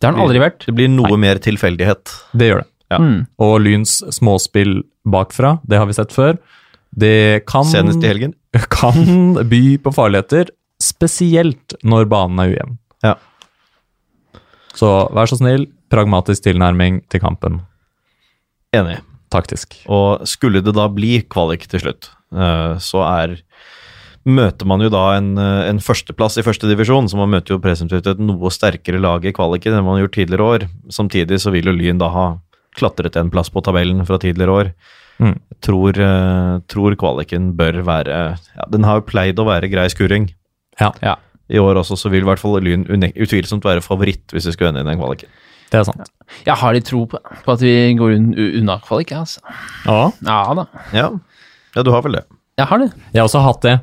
Speaker 1: Det har han aldri vært.
Speaker 2: Det blir noe mer tilfeldighet.
Speaker 3: Det gjør det.
Speaker 2: Hmm.
Speaker 1: Mm.
Speaker 3: Og Lyns småspill bakfra, det har vi sett før. Det kan,
Speaker 2: Senest i helgen.
Speaker 3: kan by på farligheter, spesielt når banen er ujevn.
Speaker 2: Ja.
Speaker 3: Så vær så snill, pragmatisk tilnærming til kampen.
Speaker 2: Enig.
Speaker 3: Taktisk.
Speaker 2: Og skulle det da bli kvalik til slutt, eh, så er Møter man jo da en, eh, en førsteplass i første divisjon, så man møter jo presumptivt et noe sterkere lag i kvaliken enn man har gjort tidligere år. Samtidig så vil jo Lyn da ha klatret en plass på tabellen fra tidligere år.
Speaker 3: Mm.
Speaker 2: Jeg Tror, eh, tror kvaliken bør være ja, Den har jo pleid å være grei skurring.
Speaker 3: Ja,
Speaker 1: Ja.
Speaker 2: I år også så vil i hvert fall Lyn une- utvilsomt være favoritt hvis de skulle ende i den kvaliken.
Speaker 3: det er sant.
Speaker 1: Jeg har litt tro på, på at vi går un u- unna kvalik, jeg, altså.
Speaker 3: Ja.
Speaker 1: Ja da,
Speaker 2: Ja. ja, du har vel det.
Speaker 1: jeg har det.
Speaker 3: Jeg har også hatt det.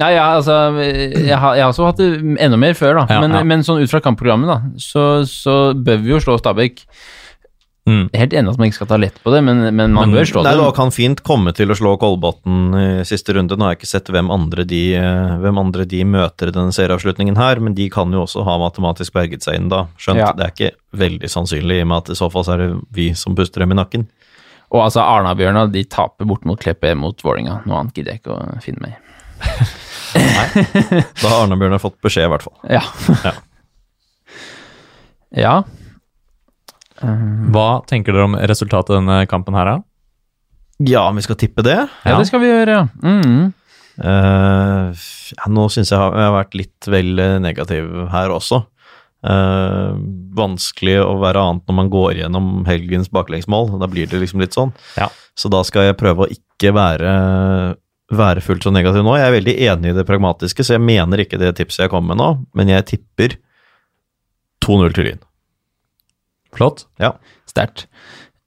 Speaker 1: Ja, ja, altså, jeg har, jeg har også hatt det enda mer før, da.
Speaker 3: Ja,
Speaker 1: men,
Speaker 3: ja.
Speaker 1: men sånn ut fra kampprogrammet, da, så, så bør vi jo slå Stabæk.
Speaker 3: Mm.
Speaker 1: Jeg er Helt enig at man ikke skal ta lett på det, men, men man
Speaker 3: Men-
Speaker 1: bør slå
Speaker 2: Nei,
Speaker 1: det.
Speaker 2: da kan fint komme til å slå Kolbotn i siste runde. Nå har jeg ikke sett hvem andre de, eh, hvem andre de møter i denne serieavslutningen her, men de kan jo også ha matematisk berget seg inn da. Skjønt,
Speaker 1: Ja.
Speaker 2: det er ikke veldig sannsynlig, i og med at i så fall så er det vi som puster dem i nakken.
Speaker 1: Og altså, Arna-Bjørnar de taper bort mot Kleppe mot Vålinga. Noe annet gidder jeg ikke å finne meg i.
Speaker 2: Da har Arne-Bjørnar fått beskjed, i hvert fall.
Speaker 1: Ja.
Speaker 2: Ja.
Speaker 1: ja.
Speaker 3: Hva tenker dere om resultatet i denne kampen her, da?
Speaker 2: Ja, vi skal tippe det.
Speaker 1: Ja, det skal vi gjøre, ja. Mm.
Speaker 2: Eh, ja, nå syns jeg har- jeg har vært litt vel eh, negativ her også. Eh, vanskelig å være annet når man går gjennom helgens baklengsmål. Da blir det liksom litt sånn.
Speaker 3: Ja.
Speaker 2: Så da skal jeg prøve å ikke være, være fullt så negativ nå. Jeg er veldig enig i det pragmatiske, så jeg mener ikke det tipset jeg kom med nå, men jeg tipper 2-0 til Lyn.
Speaker 3: Flott.
Speaker 1: Sterkt.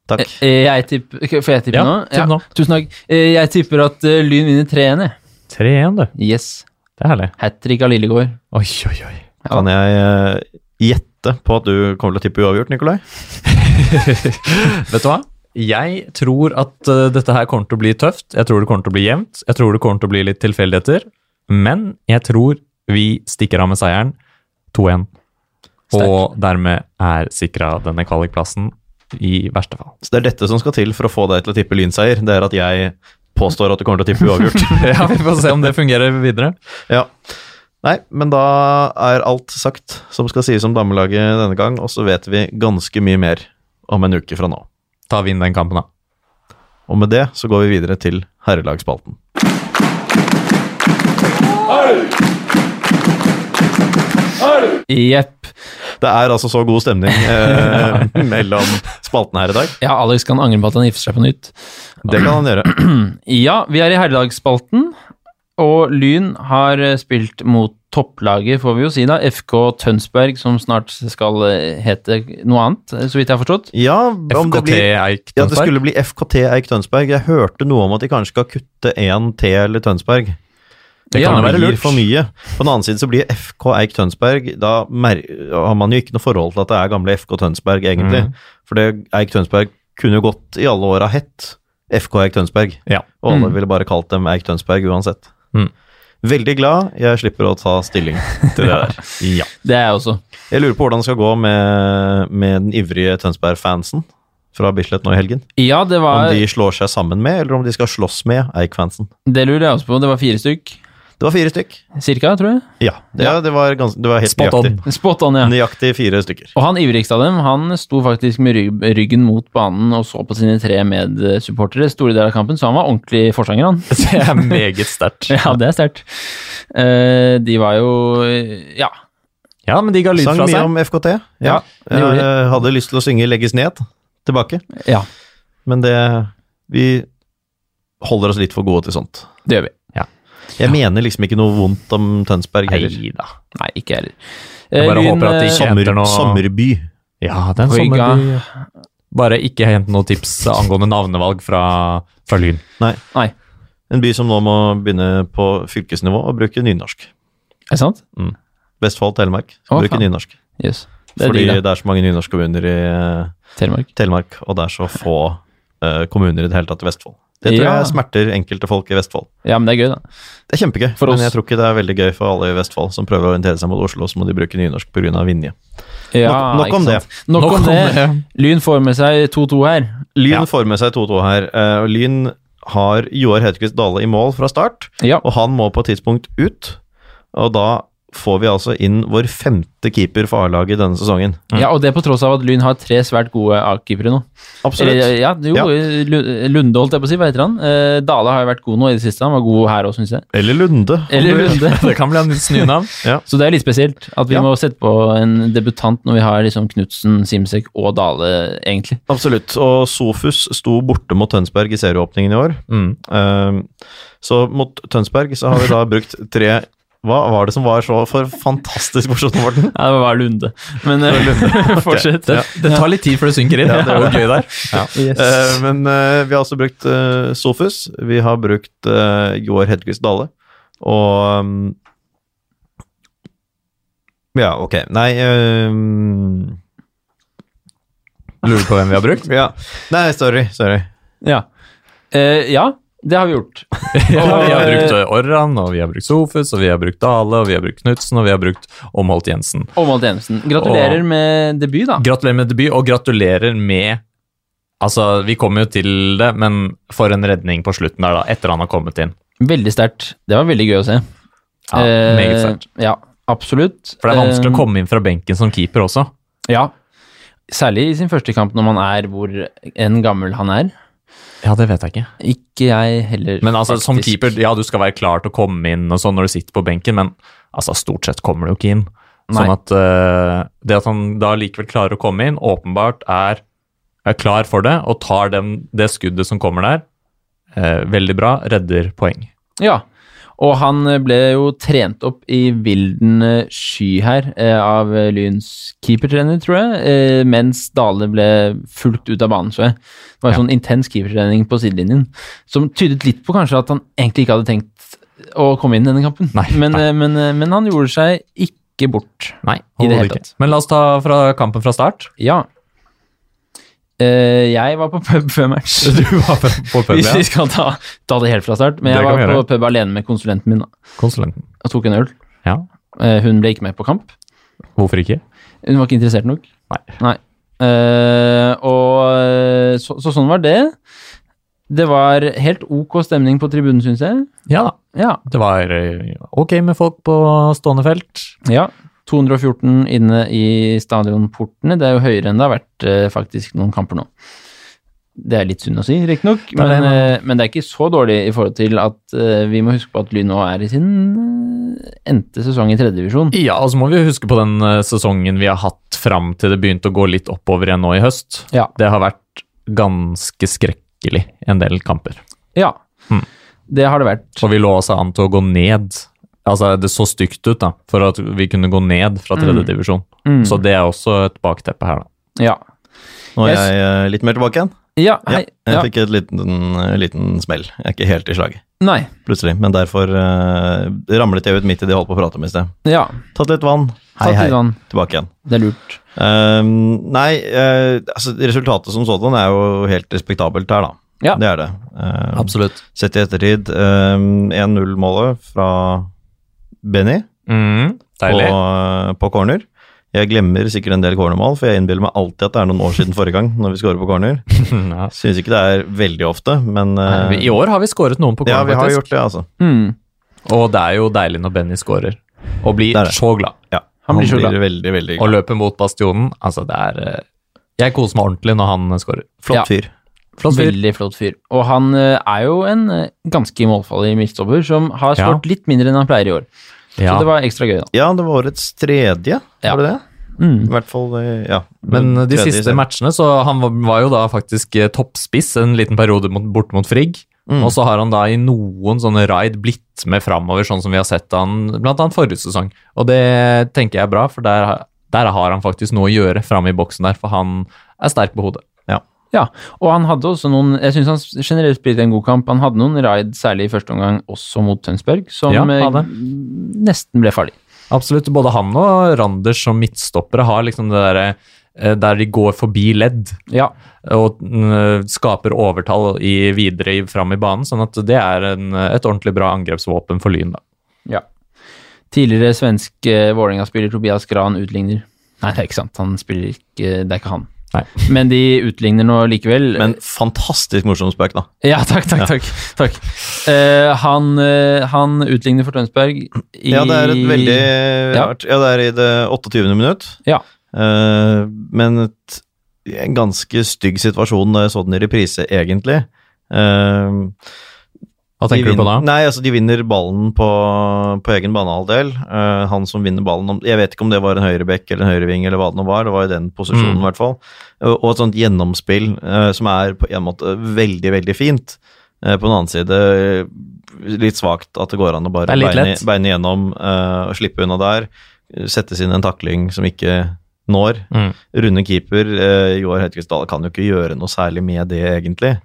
Speaker 2: Takk.
Speaker 1: Eh, Jeg tipper, Får jeg tippe
Speaker 3: Ja,
Speaker 1: nå?
Speaker 3: tipp nå.
Speaker 1: Tusen takk. Eh, Jeg tipper at eh, Lyn vinner 3-1. jeg.
Speaker 3: 3-1, du.
Speaker 1: Yes.
Speaker 3: Det er herlig.
Speaker 1: Hat trick av Lillegård.
Speaker 3: Oi, oi, oi.
Speaker 2: Kan jeg eh, gjette på at du kommer til å tippe uavgjort, Nikolai?
Speaker 3: Vet du hva? Jeg tror at eh, dette her kommer til å bli tøft. Jeg tror det kommer til å bli jevnt. Jeg tror det kommer til å bli litt tilfeldigheter. Men jeg tror vi stikker av med seieren 2-1. Og dermed er sikra denne kvalikplassen, i verste fall.
Speaker 2: Så det er dette som skal til for å få deg til å tippe lynseier. Det er at jeg påstår at du kommer til å tippe uavgjort.
Speaker 3: Ja, Vi får se om det fungerer videre.
Speaker 2: ja. Nei, men da er alt sagt som skal sies om damelaget denne gang, og så vet vi ganske mye mer om en uke fra nå.
Speaker 3: Ta vinn den kampen, da.
Speaker 2: Og med det så går vi videre til herrelagsspalten.
Speaker 1: Jepp.
Speaker 2: Det er altså så god stemning eh, mellom spaltene her i dag.
Speaker 1: Ja, Alex kan angre på at han gifter seg på nytt.
Speaker 2: Det kan han gjøre.
Speaker 1: Ja, vi er i herredagsspalten, og Lyn har eh, spilt mot topplaget, får vi jo si da, FK Tønsberg, som snart skal eh, hete noe annet, eh, så vidt jeg har forstått.
Speaker 2: Ja, om det
Speaker 3: FKT
Speaker 2: blir
Speaker 3: Eik
Speaker 2: ja, det
Speaker 3: Tønsberg.
Speaker 2: skulle bli FKT Eik Tønsberg. Jeg hørte noe om at de kanskje skal kutte én T eller Tønsberg.
Speaker 3: Det
Speaker 1: Ja,
Speaker 3: kan jo
Speaker 2: Det
Speaker 3: være
Speaker 2: blir
Speaker 3: lurt.
Speaker 2: for mye. På den annen side så blir FK Eik Tønsberg Da mer har man jo ikke noe forhold til at det er gamle FK Tønsberg, egentlig.
Speaker 3: Mm.
Speaker 2: For det Eik Tønsberg kunne jo gått i alle år ha hett FK Eik Tønsberg.
Speaker 3: Ja.
Speaker 2: Og alle
Speaker 1: Mm.
Speaker 2: ville bare kalt dem Eik Tønsberg uansett.
Speaker 3: Mm.
Speaker 2: Veldig glad jeg slipper å ta stilling til det der.
Speaker 3: Ja.
Speaker 1: Det er jeg også.
Speaker 2: Jeg lurer på hvordan det skal gå med, med den ivrige Tønsberg-fansen fra Bislett nå i helgen.
Speaker 1: Ja, det
Speaker 2: Om
Speaker 1: var
Speaker 2: de slår seg sammen med, eller om de skal slåss med Eik-fansen.
Speaker 1: Det lurer jeg også på. Det var fire stykk,
Speaker 2: Det var fire stykk.
Speaker 1: cirka, tror jeg.
Speaker 2: Ja, det, ja. det, var, gans, det var helt
Speaker 3: Spot on.
Speaker 2: nøyaktig.
Speaker 1: Spot on, ja.
Speaker 2: Nøyaktig fire stykker.
Speaker 1: Og han ivrigste av dem, han sto faktisk med ryg- ryggen mot banen og så på sine tre medsupportere store deler av kampen, så han var ordentlig forsanger, han.
Speaker 3: Det er meget sterkt.
Speaker 1: Ja, det er sterkt. Eh, De var jo eh, Ja.
Speaker 3: Ja, men de ga lyd
Speaker 2: Sang
Speaker 3: fra
Speaker 2: mye
Speaker 3: seg.
Speaker 2: om FKT.
Speaker 1: Ja, eh, det gjorde
Speaker 2: jeg Eh, hadde lyst til å synge 'Legges ned' tilbake,
Speaker 1: Ja,
Speaker 2: men det Vi holder oss litt for gode til sånt.
Speaker 1: det gjør vi.
Speaker 2: Jeg mener liksom ikke noe vondt om Tønsberg heller.
Speaker 3: Nei da.
Speaker 1: Nei, ikke jeg heller. Eh,
Speaker 3: Jeg bare håper at de ikke-
Speaker 2: Sommer,
Speaker 3: heter noe-
Speaker 2: Sommerby.
Speaker 3: Ja, det er en
Speaker 1: Høyga.
Speaker 3: sommerby. Bare ikke hent noen tips angående navnevalg fra, fra Lyn.
Speaker 1: Nei,
Speaker 2: En by som nå må begynne på fylkesnivå og bruke nynorsk.
Speaker 1: er det sant?
Speaker 2: Vestfold, Telemark. Skal
Speaker 1: Å,
Speaker 2: bruke
Speaker 1: faen.
Speaker 2: nynorsk.
Speaker 1: Yes. Det er
Speaker 2: Fordi
Speaker 1: digg, da.
Speaker 2: det er så mange nynorskkommuner i eh,
Speaker 1: Telemark.
Speaker 2: Telemark, og det er så få eh, kommuner i det hele tatt i Vestfold. Det tror
Speaker 1: Ja.
Speaker 2: jeg smerter enkelte folk i Vestfold.
Speaker 1: Ja, men det er gøy, da.
Speaker 2: Det er kjempegøy,
Speaker 1: For oss.
Speaker 2: men jeg tror ikke det er veldig gøy for alle i Vestfold som prøver å orientere seg mot Oslo, så må de bruke nynorsk pga. Vinje.
Speaker 1: Ja,
Speaker 2: nok
Speaker 1: ikke
Speaker 2: om
Speaker 1: sant? Nok, om det. Lyn får med seg 2-2 her.
Speaker 2: Lyn får med seg 2-2 her, eh, og Lyn har Joar Hedquist Dale i mål fra start,
Speaker 1: Ja.
Speaker 2: og han må på et tidspunkt ut. Og da får vi altså inn vår femte keeper for A-laget denne sesongen.
Speaker 1: ja, og det på tross av at Lyn har tre svært gode A-keepere nå.
Speaker 2: Eh,
Speaker 1: Eller, Ja, jo,
Speaker 2: Ja.
Speaker 1: Lu- Lunde, holdt jeg på å si. Hva heter han? Eh, Dale har jo vært god nå i det siste. Han var god her òg, syns jeg.
Speaker 2: Eller Lunde.
Speaker 1: Eller Lunde.
Speaker 3: Det kan bli hans nye navn.
Speaker 1: Så det er litt spesielt at vi
Speaker 2: Ja.
Speaker 1: må sette på en debutant når vi har liksom Knutsen, Simsek og Dale, egentlig.
Speaker 2: Absolutt. Og Sofus sto borte mot Tønsberg i serieåpningen i år.
Speaker 3: Mm.
Speaker 2: Ehm, Så mot Tønsberg så har vi da brukt tre Hva var det som var så for fantastisk morsomt, Morten?
Speaker 1: Ja, det var bare Lunde. Men eh, fortsett.
Speaker 3: Det, det tar litt tid før det synker inn.
Speaker 2: Ja, det
Speaker 3: det er jo gøy der.
Speaker 2: Eh, Men eh, vi har også brukt eh, Sofus, vi har brukt eh, Joar Hedquist Dale, og mm, Ja, ok. Nei ehm,
Speaker 3: Lurer på hvem vi har brukt.
Speaker 2: ja. Nei, sorry. sorry.
Speaker 1: Ja. Eh, ja, det har vi gjort.
Speaker 3: Ja, vi har brukt eh, Orran, og vi har brukt Sofus, og vi har brukt Dale, og vi har brukt Knutsen, og vi har brukt Omholt Jensen.
Speaker 1: Og Malte Jensen. Gratulerer med debut, da.
Speaker 3: Gratulerer med debut, og gratulerer med Altså, vi kommer jo til det, men for en redning på slutten der, da, etter han har kommet inn.
Speaker 1: Veldig sterkt. Det var veldig gøy å se.
Speaker 3: Ja,
Speaker 1: Eh,
Speaker 3: meget sterkt.
Speaker 1: Ja, absolutt.
Speaker 3: For det er vanskelig
Speaker 1: Eh,
Speaker 3: å komme inn fra benken som keeper også.
Speaker 1: Ja. Særlig i sin første kamp, når man er hvor enn gammel han er.
Speaker 3: Ja, det vet jeg ikke.
Speaker 1: Ikke jeg heller.
Speaker 3: Men altså, som
Speaker 1: faktisk.
Speaker 3: keeper, ja, du skal være klar til å komme inn og sånn når du sitter på benken, men altså, stort sett kommer du jo ikke inn. Sånn
Speaker 1: Nei.
Speaker 3: at eh, det at han da likevel klarer å komme inn, åpenbart er, er klar for det, og tar den, det skuddet som kommer der, eh, veldig bra, redder poeng.
Speaker 1: Ja. Og han ble jo trent opp i vilden eh, sky her eh, av eh, Lyns keepertrener, tror jeg, eh, mens Dale ble fulgt ut av banen, tror jeg. Det var en sånn intens keepertrening på sidelinjen, som tydet litt på kanskje at han egentlig ikke hadde tenkt å komme inn i denne kampen.
Speaker 3: Nei,
Speaker 1: men,
Speaker 3: nei.
Speaker 1: eh, Men, eh, men han gjorde seg ikke bort.
Speaker 3: Nei,
Speaker 1: I det
Speaker 3: overhodet
Speaker 1: hele
Speaker 3: ikke. Men la oss ta fra kampen fra start.
Speaker 1: Ja. Eh, jeg var på pub før match.
Speaker 3: Du var på på pub,
Speaker 1: Hvis
Speaker 3: ja.
Speaker 1: vi skal ta, ta det helt fra start. Men
Speaker 3: Det
Speaker 1: jeg
Speaker 3: kan
Speaker 1: var
Speaker 3: vi
Speaker 1: på
Speaker 3: gjøre.
Speaker 1: pub alene med konsulenten min da,
Speaker 3: Konsulenten.
Speaker 1: og tok en øl.
Speaker 3: Ja.
Speaker 1: Eh, Hun ble ikke med på kamp.
Speaker 3: Hvorfor ikke?
Speaker 1: Hun var ikke interessert nok.
Speaker 3: Nei.
Speaker 1: Eh, og eh, så, så sånn var det. Det var helt ok stemning på tribunen, syns jeg.
Speaker 3: Ja da.
Speaker 1: Ja.
Speaker 3: Det var eh, ok med folk på stående felt.
Speaker 1: ja. 214 inne i stadionportene. Det er jo høyere enn det har vært eh, faktisk noen kamper nå. Det er litt synd å si, riktignok,
Speaker 3: er det,
Speaker 1: men, eh, men det er ikke så dårlig i forhold til at eh, vi må huske på at Lyn nå er i sin eh, endte sesong i tredjedivisjon.
Speaker 3: Ja, og så må vi jo huske på den eh, sesongen vi har hatt fram til det begynte å gå litt oppover igjen nå i høst.
Speaker 1: Ja.
Speaker 3: Det har vært ganske skrekkelig en del kamper.
Speaker 1: Ja.
Speaker 3: Mm.
Speaker 1: Det har det vært.
Speaker 3: Og vi lå også an til å gå ned. Altså, det så stygt ut da, for at vi kunne gå ned fra tredje divisjon.
Speaker 1: Mm.
Speaker 3: Så det er også et bakteppe her da.
Speaker 1: Ja.
Speaker 2: Nå er
Speaker 1: Jeg s-
Speaker 2: jeg eh, litt mer tilbake igjen.
Speaker 1: Ja,
Speaker 2: Ja,
Speaker 1: hei.
Speaker 2: jeg
Speaker 1: Ja.
Speaker 2: fikk et liten, eh, liten smell. Jeg er ikke helt i slaget,
Speaker 1: Nei.
Speaker 2: plutselig. Men derfor eh, ramlet jeg ut midt i det jeg holdt på å prate om i sted.
Speaker 1: Ja.
Speaker 2: Tatt litt vann. Hei,
Speaker 1: Tatt
Speaker 2: hei.
Speaker 1: litt vann.
Speaker 2: Tilbake igjen.
Speaker 1: Det er lurt.
Speaker 2: Ehm, nei, eh, altså resultatet som sådan er jo helt respektabelt her, da.
Speaker 1: Ja.
Speaker 2: Det er det. Ehm,
Speaker 3: Absolutt.
Speaker 2: Sett i ettertid, ehm, 1-0-målet fra Benny
Speaker 3: Mm,
Speaker 2: på, eh,
Speaker 3: deilig.
Speaker 2: på corner. Jeg glemmer sikkert en del cornermål, for jeg innbiller meg alltid at det er noen år siden forrige gang når vi scorer på corner.
Speaker 3: ja.
Speaker 2: Synes ikke det er veldig ofte, men eh,
Speaker 3: I år har vi skåret noen på
Speaker 2: ja,
Speaker 3: corner,
Speaker 2: vi har
Speaker 3: faktisk.
Speaker 2: gjort det, altså.
Speaker 1: Mm.
Speaker 3: Og det er jo deilig når Benny skårer. Og blir
Speaker 2: Det er det.
Speaker 3: så glad.
Speaker 2: Ja,
Speaker 1: Han blir så glad.
Speaker 2: veldig, veldig
Speaker 3: Og
Speaker 2: glad.
Speaker 3: løper mot bastionen. Altså, det er eh, Jeg koser meg ordentlig når han skårer.
Speaker 1: Ja.
Speaker 2: Flott fyr.
Speaker 3: Flott fyr.
Speaker 1: Veldig flott fyr. Og han eh, er jo en eh, ganske målfarlig midtstopper som har
Speaker 3: Ja.
Speaker 1: skåret litt mindre enn han pleier i år.
Speaker 3: Ja.
Speaker 1: Så det var ekstra gøy, da.
Speaker 2: Ja, det var årets tredje,
Speaker 1: Ja.
Speaker 2: var det det?
Speaker 1: Mm.
Speaker 2: I hvert fall, eh, ja.
Speaker 3: Men de
Speaker 2: Tredje i
Speaker 3: siste
Speaker 2: serien.
Speaker 3: matchene, så han var, var jo da faktisk eh, toppspiss en liten periode mot, bort mot Frigg.
Speaker 2: Mm.
Speaker 3: Og så har han da i noen sånne raid blitt med framover, sånn som vi har sett han blant annet forrige sesong. Og det tenker jeg er bra, for der, der har han faktisk noe å gjøre framme i boksen der, for han er sterk på hodet.
Speaker 1: Ja, og han hadde også noen Jeg syns han generelt spilte en god kamp. Han hadde noen raid, særlig i første omgang, også mot Tønsberg, som
Speaker 3: Ja,
Speaker 1: eh,
Speaker 3: hadde.
Speaker 1: nesten ble farlig.
Speaker 3: Absolutt. Både han og Randers som midtstoppere har liksom det derre eh, der de går forbi ledd
Speaker 1: Ja.
Speaker 3: og mm, skaper overtall i, videre i- fram i banen. Sånn at det er en, et ordentlig bra angrepsvåpen for Lyn, da.
Speaker 1: ja. Tidligere svensk eh, Vålerenga-spiller Tobias Gran utligner. Nei, det er ikke sant. Han spiller ikke Det er ikke han.
Speaker 3: Nei.
Speaker 1: Men de utligner nå likevel.
Speaker 2: Men fantastisk morsom spøk, da.
Speaker 1: Ja, takk, takk, takk. takk. Eh, han, eh, han utligner for Tønsberg i
Speaker 2: Ja, det er et veldig
Speaker 1: Ja.
Speaker 2: rart Ja, det er i det 28. minutt.
Speaker 1: Ja.
Speaker 2: Eh, men et, en ganske stygg situasjon da jeg så den i reprise, egentlig. Eh,
Speaker 3: Hva
Speaker 2: de
Speaker 3: tenker du på da?
Speaker 2: vinner- Nei, altså De vinner ballen på, på egen banehalvdel. Eh, han som vinner ballen om- Jeg vet ikke om det var en høyrebekk eller en høyreving eller hva det nå var. Det var i den posisjonen, i
Speaker 3: Mm.
Speaker 2: hvert fall. Og og et sånt gjennomspill eh, som er på en måte veldig, veldig fint. Eh, på den annen side eh, litt svakt at det går an å bare
Speaker 3: Det er litt
Speaker 2: beine,
Speaker 3: lett.
Speaker 2: beine gjennom eh, og slippe unna der. Settes inn en takling som ikke når.
Speaker 3: Mm.
Speaker 2: Runde keeper, eh, Joar Høytquist Dahl, kan jo ikke gjøre noe særlig med det, egentlig.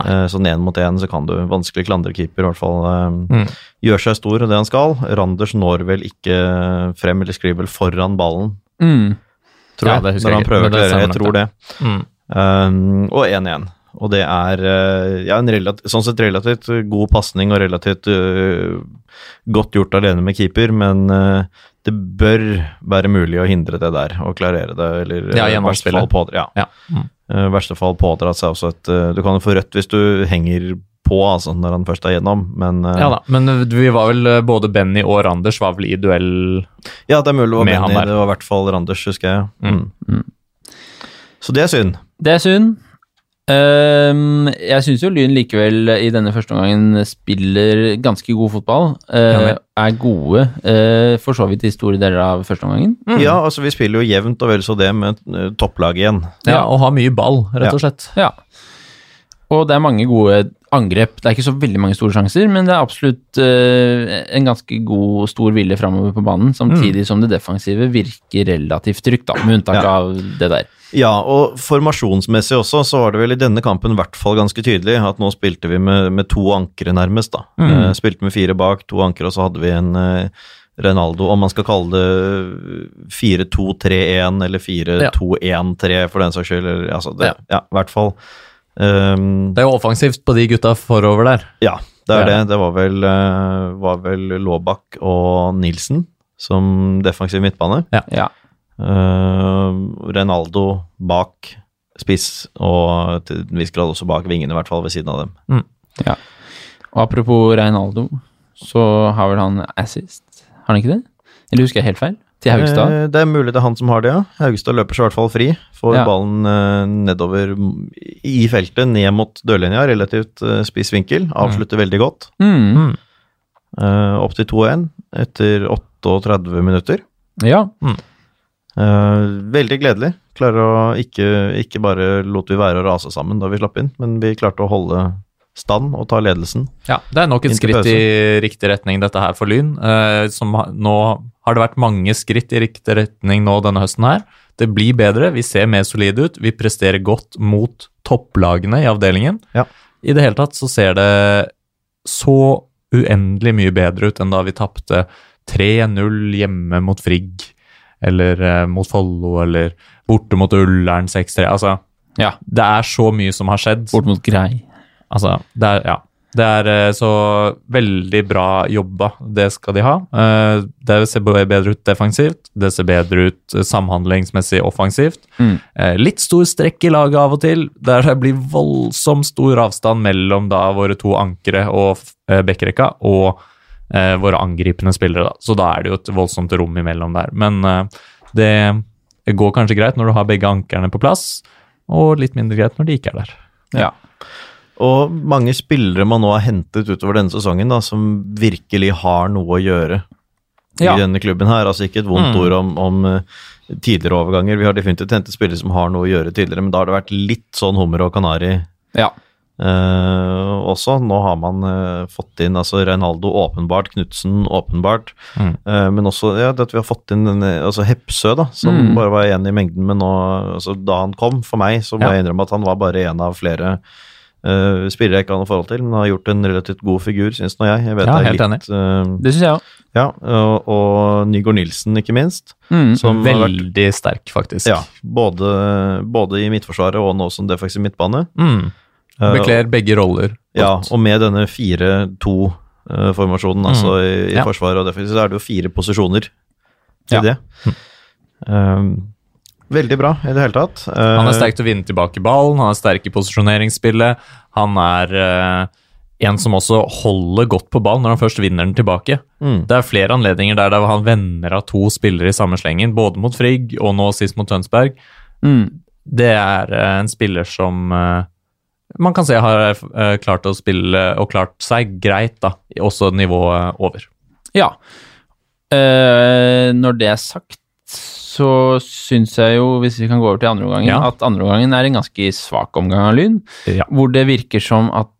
Speaker 2: Eh, sånn én mot én så kan du vanskelig klandre keeper, i hvert fall. Eh,
Speaker 3: Mm.
Speaker 2: Gjør seg stor og det han skal. Randers når vel ikke frem, eller skriver vel foran ballen,
Speaker 1: mm,
Speaker 2: tror
Speaker 3: Ja,
Speaker 2: jeg.
Speaker 3: det husker
Speaker 2: Når
Speaker 3: jeg
Speaker 2: han
Speaker 3: ikke,
Speaker 2: prøver å
Speaker 3: men det
Speaker 2: klarere. Jeg
Speaker 3: stemmer
Speaker 2: tror
Speaker 3: nok,
Speaker 2: det.
Speaker 3: Mm.
Speaker 2: Um, og 1-1. Og det er eh, ja, en relativt, sånn sett relativt god pasning og relativt eh, godt gjort alene med keeper, men eh, det bør være mulig å hindre det der og klarere det, eller
Speaker 3: Ja,
Speaker 2: eh, i
Speaker 3: gjennom
Speaker 2: verste
Speaker 3: spillet.
Speaker 2: fall pådra, ja.
Speaker 3: Ja. Mm.
Speaker 2: Eh, verste fall pådra seg også et eh, Du kan jo få rødt hvis du henger på altså, når han først er gjennom, men eh,
Speaker 3: ja da, men eh, vi var vel eh, både Benny og Randers var vel i duell
Speaker 2: ja, det er mulig det var
Speaker 3: Med han
Speaker 2: Benny,
Speaker 3: der.
Speaker 2: det var i hvert fall Randers, husker jeg.
Speaker 3: Mm.
Speaker 1: Mm.
Speaker 2: Så det er synd.
Speaker 1: det er synd. Ehm, jeg syns jo Lyn likevel eh, i denne første omgangen spiller ganske god fotball. eh, er gode eh, for så vidt i store deler av første omgangen.
Speaker 3: Mm.
Speaker 2: Ja, altså vi spiller jo jevnt og vel så det med eh, topplaget igjen.
Speaker 3: ja, og har mye ball, rett og slett.
Speaker 1: Ja. og det er mange gode angrep. Det er ikke så veldig mange store sjanser, men det er absolutt eh, en ganske god, stor vilje framover på banen, samtidig som det defensive virker relativt trygt, da, med unntak
Speaker 2: Ja.
Speaker 1: av det der.
Speaker 2: Ja, og formasjonsmessig også, så var det vel i denne kampen i hvert fall ganske tydelig at nå spilte vi med, med to ankere nærmest, da.
Speaker 3: Mm.
Speaker 2: Eh, Spilte med fire bak, to ankere, og så hadde vi en eh, Renaldo, om man skal kalle eh, det 4-2-3-1 eller 4-2-1-3 for den saks skyld, eller altså det,
Speaker 3: Ja.
Speaker 2: ja, i hvert fall. Ehm,
Speaker 3: Det er jo offensivt på de gutta forover der.
Speaker 2: ja, det
Speaker 3: Ja.
Speaker 2: er det. Det var vel, eh, var vel Laabak og Nilsen som defensiv midtbane.
Speaker 1: Ja.
Speaker 2: Eh, Renaldo bak spiss, og til en viss grad også bak vingene, i hvert fall ved siden av dem.
Speaker 1: Og apropos Reinaldo, så har vel han assist, har han ikke det? Eller husker jeg helt feil? Til Haugstad?
Speaker 2: Eh, det er mulig det er han som har det, ja. Haugstad løper seg i hvert fall fri. Får
Speaker 1: Ja.
Speaker 2: ballen eh, nedover i feltet, ned mot dørlinja, relativt eh, spiss vinkel. Avslutter veldig godt.
Speaker 1: Mm.
Speaker 2: Eh, opp til 2-1 etter 38 minutter.
Speaker 1: Ja.
Speaker 2: Eh, veldig gledelig. Klarer å ikke, ikke bare lot vi være å rase sammen da vi slapp inn, men vi klarte å holde stand og ta ledelsen.
Speaker 3: Ja, Det er nok et
Speaker 2: Inntil
Speaker 3: skritt i riktig retning, dette her for Lyn. Eh, som ha, nå har det vært mange skritt i riktig retning nå denne høsten her. Det blir bedre, vi ser mer solide ut, vi presterer godt mot topplagene i avdelingen.
Speaker 2: Ja.
Speaker 3: I det hele tatt så ser det så uendelig mye bedre ut enn da vi tapte 3-0 hjemme mot Frigg, eller eh, mot Follo, eller borte mot Ullern 6-3. Altså,
Speaker 1: ja.
Speaker 3: det er så mye som har skjedd.
Speaker 1: Bort mot Grei.
Speaker 3: Altså, det er, ja. Det er eh, så veldig bra jobba, det skal de ha. Eh, Det ser be- bedre ut defensivt, det ser bedre ut eh, samhandlingsmessig offensivt.
Speaker 1: Mm.
Speaker 3: Eh, Litt stor strekk i laget av og til, der det blir voldsomt stor avstand mellom da våre to ankere og f- eh, backrekka og eh, våre angripende spillere. Da. Så da er det jo et voldsomt rom imellom der. Men eh, det går kanskje greit når du har begge ankerne på plass, og litt mindre greit når de ikke er der.
Speaker 1: Ja.
Speaker 2: Og mange spillere man nå har hentet utover denne sesongen, da, som virkelig har noe å gjøre
Speaker 1: Ja.
Speaker 2: i denne klubben her. Altså ikke et vondt
Speaker 3: Mm.
Speaker 2: ord om, om eh, tidligere overganger. Vi har definitivt hentet spillere som har noe å gjøre tidligere, men da har det vært litt sånn hummer og kanari
Speaker 1: ja.
Speaker 2: eh, også. Nå har man eh, fått inn altså Reinaldo åpenbart, Knutsen åpenbart,
Speaker 3: Mm.
Speaker 2: eh, men også ja, det at vi har fått inn denne, altså Hepsø, da, som
Speaker 1: Mm.
Speaker 2: bare var igjen i mengden. Men nå, altså, da han kom, for meg, så må
Speaker 3: Ja.
Speaker 2: jeg innrømme at han var bare en av flere eh, spillere jeg ikke har noe forhold til, men har gjort en relativt god figur, syns nå jeg. Jeg vet
Speaker 3: Ja,
Speaker 2: det er
Speaker 3: helt
Speaker 2: litt eh,
Speaker 1: Det syns jeg òg.
Speaker 2: Ja, og, og Nygård Nilsen, ikke minst.
Speaker 1: Mm.
Speaker 2: Som har vært
Speaker 3: Veldig sterk, faktisk.
Speaker 2: ja, både, både i Midtforsvaret og nå som defensiv midtbane.
Speaker 3: Mm.
Speaker 2: Eh,
Speaker 3: Bekler begge roller.
Speaker 2: Ja,
Speaker 3: Godt.
Speaker 2: og med denne 4-2-formasjonen, altså i, i
Speaker 3: Mm. Ja.
Speaker 2: forsvaret og defensiv, så er det jo fire posisjoner i
Speaker 1: Ja.
Speaker 2: det. Um, veldig bra i det hele tatt.
Speaker 3: Mm. Han er
Speaker 2: Eh,
Speaker 3: sterk til å vinne tilbake ballen, han er sterk i posisjoneringsspillet. Han er eh, en som også holder godt på ballen når han først vinner den tilbake.
Speaker 2: Mm.
Speaker 3: Det er flere anledninger der det- han vender av to spillere i samme slengen, både mot Frigg og nå sist mot Tønsberg.
Speaker 1: Mm.
Speaker 3: Det er eh, en spiller som eh, man kan se har eh, klart å spille og klart seg greit, da, også nivået over.
Speaker 1: Ja. Eh, når det er sagt, så syns jeg jo, hvis vi kan gå over til andreomgangen,
Speaker 3: Ja.
Speaker 1: at andreomgangen er en ganske svak omgang av Lyn.
Speaker 3: Ja.
Speaker 1: Hvor det virker som at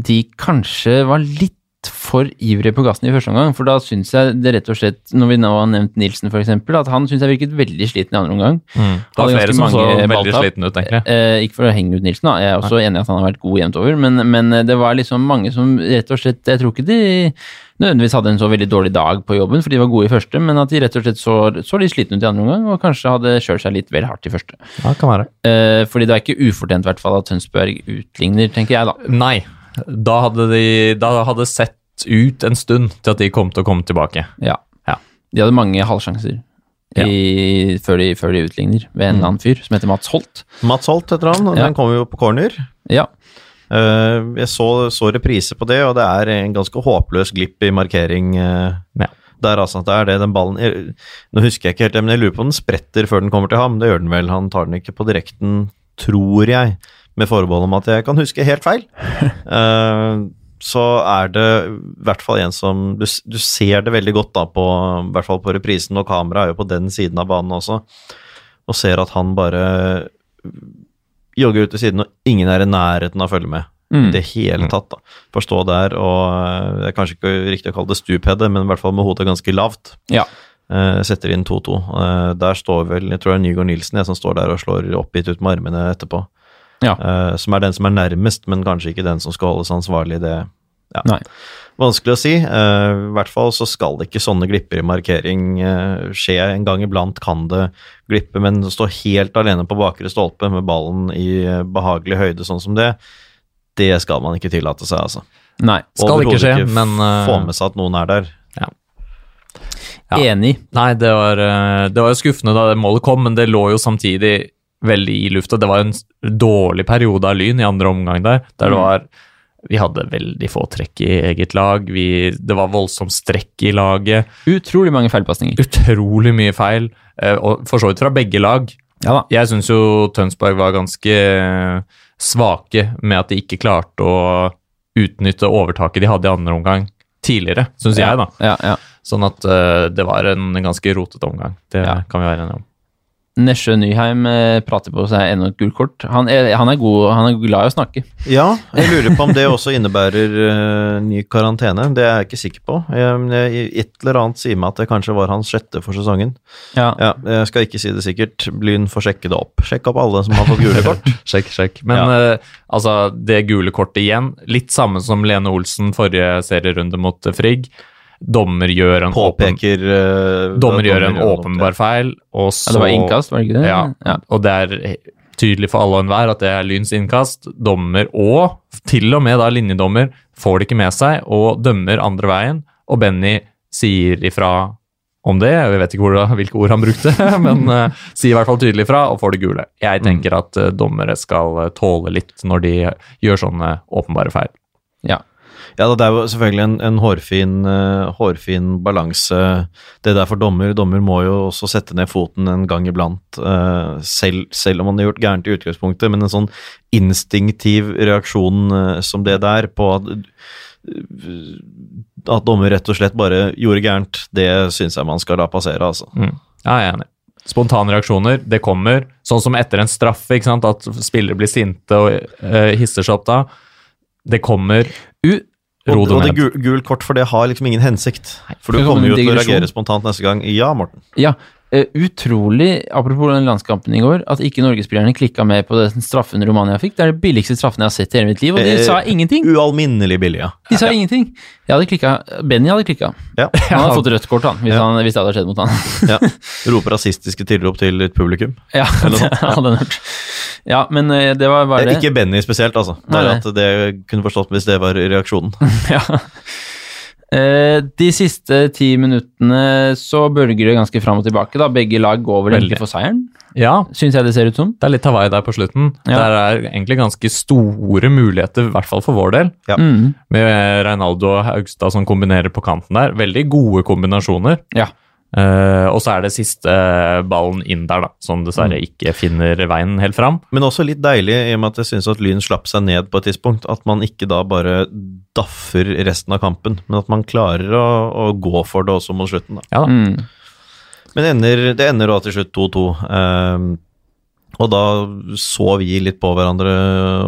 Speaker 1: de kanskje var litt for ivrige på gassen i første omgang. For da syns jeg det rett og slett, når vi nå har nevnt Nilsen f.eks., at han syns jeg virket veldig sliten i andre omgang.
Speaker 3: Det
Speaker 1: Hadde
Speaker 3: var flere
Speaker 1: ganske
Speaker 3: som så
Speaker 1: mange
Speaker 3: veldig
Speaker 1: balltap.
Speaker 3: sliten ut, tenker jeg.
Speaker 1: Eh, ikke for å henge ut Nilsen, da. jeg er også enig i at han har vært god jevnt over, men, men det var liksom mange som rett og slett Jeg tror ikke de nødvendigvis hadde en så veldig dårlig dag på jobben, for de var gode i første, men at de rett og slett så, så litt slitne ut i andre omgang, og kanskje hadde kjørt seg litt vel hardt i første.
Speaker 3: Ja, kan være.
Speaker 1: Eh, fordi det er ikke ufortjent i hvert fall at Tønsberg utligner, tenker jeg da.
Speaker 3: Nei, da hadde de da hadde det sett ut en stund til at de kom til å komme tilbake.
Speaker 1: Ja.
Speaker 3: Ja.
Speaker 1: De hadde mange halvsjanser i, før, de, før de utligner, ved
Speaker 3: Mm.
Speaker 1: en eller annen fyr som heter Mats Holt.
Speaker 2: Mats Holt heter han, og
Speaker 1: Ja.
Speaker 2: den kommer jo på corner.
Speaker 1: Ja.
Speaker 2: Eh, jeg så, så reprise på det, og det er en ganske håpløs glipp i markering. eh,
Speaker 3: Ja.
Speaker 2: Der altså, at det er det den ballen eh, jeg, Nå husker jeg ikke helt det, men jeg lurer på om den spretter før den kommer til ham. Det gjør den vel, han tar den ikke på direkten, tror jeg, med forbehold om at jeg kan huske helt feil. Eh, så er det i hvert fall en som Du, s- du ser det veldig godt da, på, i hvert fall på reprisen, og kameraet er jo på den siden av banen også, og ser at han bare jogger ut til siden, og ingen er i nærheten av å følge med.
Speaker 1: Mm.
Speaker 2: I det hele tatt. da. Forstå der, og eh, det er kanskje ikke riktig å kalle det stupheade, men i hvert fall med hodet ganske lavt.
Speaker 1: Ja.
Speaker 2: Eh, setter inn 2-2. Eh, der står vel, jeg tror det er Nygaard Nilsen jeg, som står der og slår oppgitt ut med armene etterpå.
Speaker 1: Ja.
Speaker 2: Eh, som er den som er nærmest, men kanskje ikke den som skal holdes ansvarlig. Det ja.
Speaker 1: Nei.
Speaker 2: Vanskelig å si. Eh, I hvert fall så skal det ikke sånne glipper i markering eh, skje. En gang iblant kan det glippe, men å stå helt alene på bakre stolpe med ballen i eh, behagelig høyde sånn som det, det skal man ikke tillate seg, altså.
Speaker 1: Nei.
Speaker 3: Skal ikke
Speaker 2: Overhodet
Speaker 3: skje,
Speaker 2: f-
Speaker 3: men eh,
Speaker 2: Få med seg at noen er der.
Speaker 3: Ja.
Speaker 1: Enig.
Speaker 3: Nei, det var, eh, det var jo skuffende da det målet kom, men det lå jo samtidig veldig i lufta. Det var en s- dårlig periode av Lyn i andre omgang der, der det
Speaker 1: Mm.
Speaker 3: var Vi hadde veldig få trekk i eget lag. Vi, det var voldsomt strekk i laget.
Speaker 1: Utrolig mange feilpasninger.
Speaker 3: Utrolig mye feil, eh, og for så vidt fra begge lag.
Speaker 1: Ja da.
Speaker 3: Jeg syns jo Tønsberg var ganske eh, svake med at de ikke klarte å utnytte overtaket de hadde i andre omgang tidligere, syns jeg, da.
Speaker 1: Ja, ja.
Speaker 3: Sånn at eh, det var en ganske rotete omgang. Det
Speaker 1: Ja.
Speaker 3: kan vi være enige om.
Speaker 1: Nesjø Nyheim eh, prater på seg ennå et gult kort. Han er, han er god, han er glad i å snakke.
Speaker 2: Ja, jeg lurer på om det også innebærer eh, ny karantene. Det er jeg ikke sikker på. Jeg, men jeg- et eller annet sier meg at det kanskje var hans sjette for sesongen.
Speaker 1: Ja.
Speaker 2: Ja, jeg skal ikke si det sikkert. Lyn får sjekke det opp. Sjekk opp alle som har fått gule kort.
Speaker 3: Sjekk, sjekk. Men eh, altså, det gule kortet igjen, litt samme som Lene Olsen forrige serierunde mot eh, Frigg. Dommer gjør en, åpen,
Speaker 2: Påpeker eh,
Speaker 3: dommer gjør en
Speaker 2: opp-
Speaker 3: åpenbar feil, og så
Speaker 1: Ja, det var innkast, var det ikke det?
Speaker 3: Ja.
Speaker 1: ja.
Speaker 3: Og det er tydelig for alle og enhver at det er Lyns innkast. Dommer og til og med da linjedommer får det ikke med seg og dømmer andre veien. Og Benny sier ifra om det. Jeg vet ikke hvor, hvilke ord han brukte, men eh, sier i hvert fall tydelig ifra og får det gule.
Speaker 2: Mm.
Speaker 3: Jeg tenker at eh, dommere skal eh, tåle litt når de gjør sånne åpenbare feil.
Speaker 1: Ja.
Speaker 2: Ja, da, det er jo selvfølgelig en, en hårfin, eh, hårfin balanse. Det der for dommer. Dommer må jo også sette ned foten en gang iblant, eh, selv, selv om han har gjort gærent i utgangspunktet, men en sånn instinktiv reaksjon eh, som det der på at eh, at dommer rett og slett bare gjorde gærent, det syns jeg man skal la passere, altså.
Speaker 3: Ja, jeg er enig. Spontane reaksjoner, det kommer. Sånn som etter en straffe, ikke sant? at spillere blir sinte og eh, hisser seg opp da. Det kommer.
Speaker 1: U-
Speaker 3: Ro
Speaker 2: Og,
Speaker 3: det
Speaker 2: og det
Speaker 3: ned.
Speaker 2: gul, gul kort for det har liksom ingen hensikt. For
Speaker 1: Det er
Speaker 2: du
Speaker 1: som
Speaker 2: kommer
Speaker 1: en
Speaker 2: jo til å
Speaker 1: digresjon.
Speaker 2: reagere spontant neste gang. Ja, Morten.
Speaker 1: Ja, eh, utrolig, apropos den landskampen i går, at ikke Norgespillerne klikka med på den straffen Romania fikk. Det er den billigste straffen jeg har sett i hele mitt liv, og de
Speaker 2: Eh,
Speaker 1: sa ingenting.
Speaker 2: Ualminnelig billig, ja.
Speaker 1: De sa ingenting. Jeg hadde klikket, Benny hadde klikka.
Speaker 2: ja.
Speaker 1: Han hadde fått rødt kort, han, hvis, han, hvis det hadde skjedd mot han.
Speaker 2: ja. Roper rasistiske tilrop til et publikum.
Speaker 1: Ja, det hadde han gjort. Ja, men eh, det var bare
Speaker 2: Det
Speaker 1: det.
Speaker 2: er ikke Benny spesielt, altså.
Speaker 1: Nei,
Speaker 2: Bare
Speaker 1: nei.
Speaker 2: at det kunne forstått hvis det var reaksjonen.
Speaker 1: Ja. Eh, De siste ti minuttene så bølger det ganske fram og tilbake. da Begge lag går vel egentlig
Speaker 3: Veldig.
Speaker 1: for seieren,
Speaker 3: Ja,
Speaker 1: syns jeg det ser ut som.
Speaker 3: Det er litt Hawaii der på slutten.
Speaker 1: Ja.
Speaker 3: Der er egentlig ganske store muligheter, i hvert fall for vår del.
Speaker 2: Ja.
Speaker 1: Mm.
Speaker 3: Med Reinaldo og Haugstad som kombinerer på kanten der. Veldig gode kombinasjoner.
Speaker 1: Ja.
Speaker 3: Eh, og så er det siste ballen inn der, da, som dessverre ikke finner veien helt fram.
Speaker 2: Men også litt deilig i og med at jeg syns at Lyn slapp seg ned på et tidspunkt. At man ikke da bare daffer resten av kampen, men at man klarer å, å gå for det også mot slutten. Da.
Speaker 3: Ja da.
Speaker 1: Mm.
Speaker 2: Men ender, det ender da til slutt 2-2. ehm, og da så vi litt på hverandre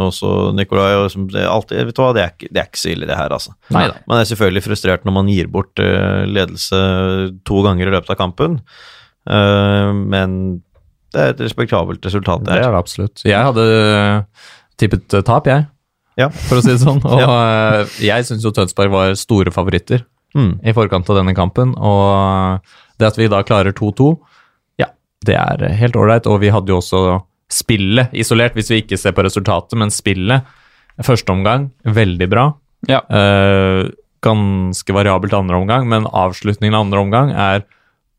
Speaker 2: også, Nikolai. Og som det alltid, vet du hva, det er, ikke- det er ikke så ille, det her, altså.
Speaker 3: Neida.
Speaker 2: Man er selvfølgelig frustrert når man gir bort eh, ledelse to ganger i løpet av kampen. Eh, men det er et respektabelt resultat.
Speaker 3: Det
Speaker 2: Det
Speaker 3: er
Speaker 2: her.
Speaker 3: det absolutt. Jeg hadde tippet tap, jeg,
Speaker 2: Ja.
Speaker 3: for å si det sånn. Og eh, jeg syns jo Tønsberg var store favoritter
Speaker 2: Mm.
Speaker 3: i forkant av denne kampen. Og det at vi da klarer 2-2, ja, det er helt ålreit. Og vi hadde jo også spillet isolert, hvis vi ikke ser på resultatet, men spillet. Første omgang, veldig bra.
Speaker 1: Ja.
Speaker 3: Eh, ganske variabelt andre omgang, men avslutningen av andre omgang er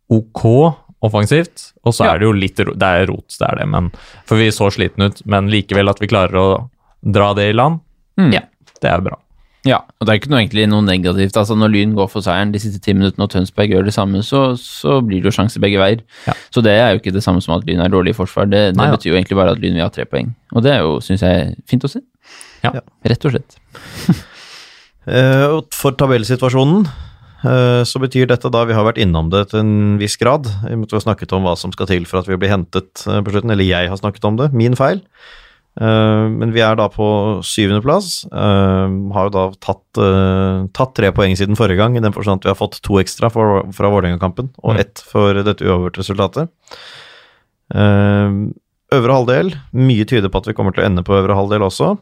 Speaker 3: ok offensivt. Og så
Speaker 1: Ja.
Speaker 3: er det jo litt ro- Det er rot, det er det, men For vi så slitne ut, men likevel at vi klarer å dra det i land,
Speaker 1: Mm.
Speaker 3: ja, det er bra.
Speaker 1: Ja, og det er ikke noe, egentlig noe negativt. Altså, når Lyn går for seieren de siste ti minuttene, og Tønsberg gjør det samme, så, så blir det jo sjanse begge veier.
Speaker 3: Ja.
Speaker 1: Så det er jo ikke det samme som at Lyn er dårlig i forsvar. Det, det
Speaker 3: Nei, ja.
Speaker 1: betyr jo egentlig bare at Lyn vil ha tre poeng. Og det er jo, syns jeg, fint å se.
Speaker 3: Ja.
Speaker 1: Rett og slett.
Speaker 2: Eh, og for tabellsituasjonen eh, så betyr dette da, vi har vært innom det til en viss grad, vi måtte jo ha snakket om hva som skal til for at vi blir hentet eh, på slutten, eller jeg har snakket om det, min feil. Eh, men vi er da på syvendeplass. Uh, har jo da tatt, eh, tatt tre poeng siden forrige gang, i den forstand at vi har fått to ekstra for, fra Vålerenga-kampen, og
Speaker 3: Mm.
Speaker 2: ett for dette uavgjorte resultatet. Eh, øvre halvdel. Mye tyder på at vi kommer til å ende på øvre halvdel også.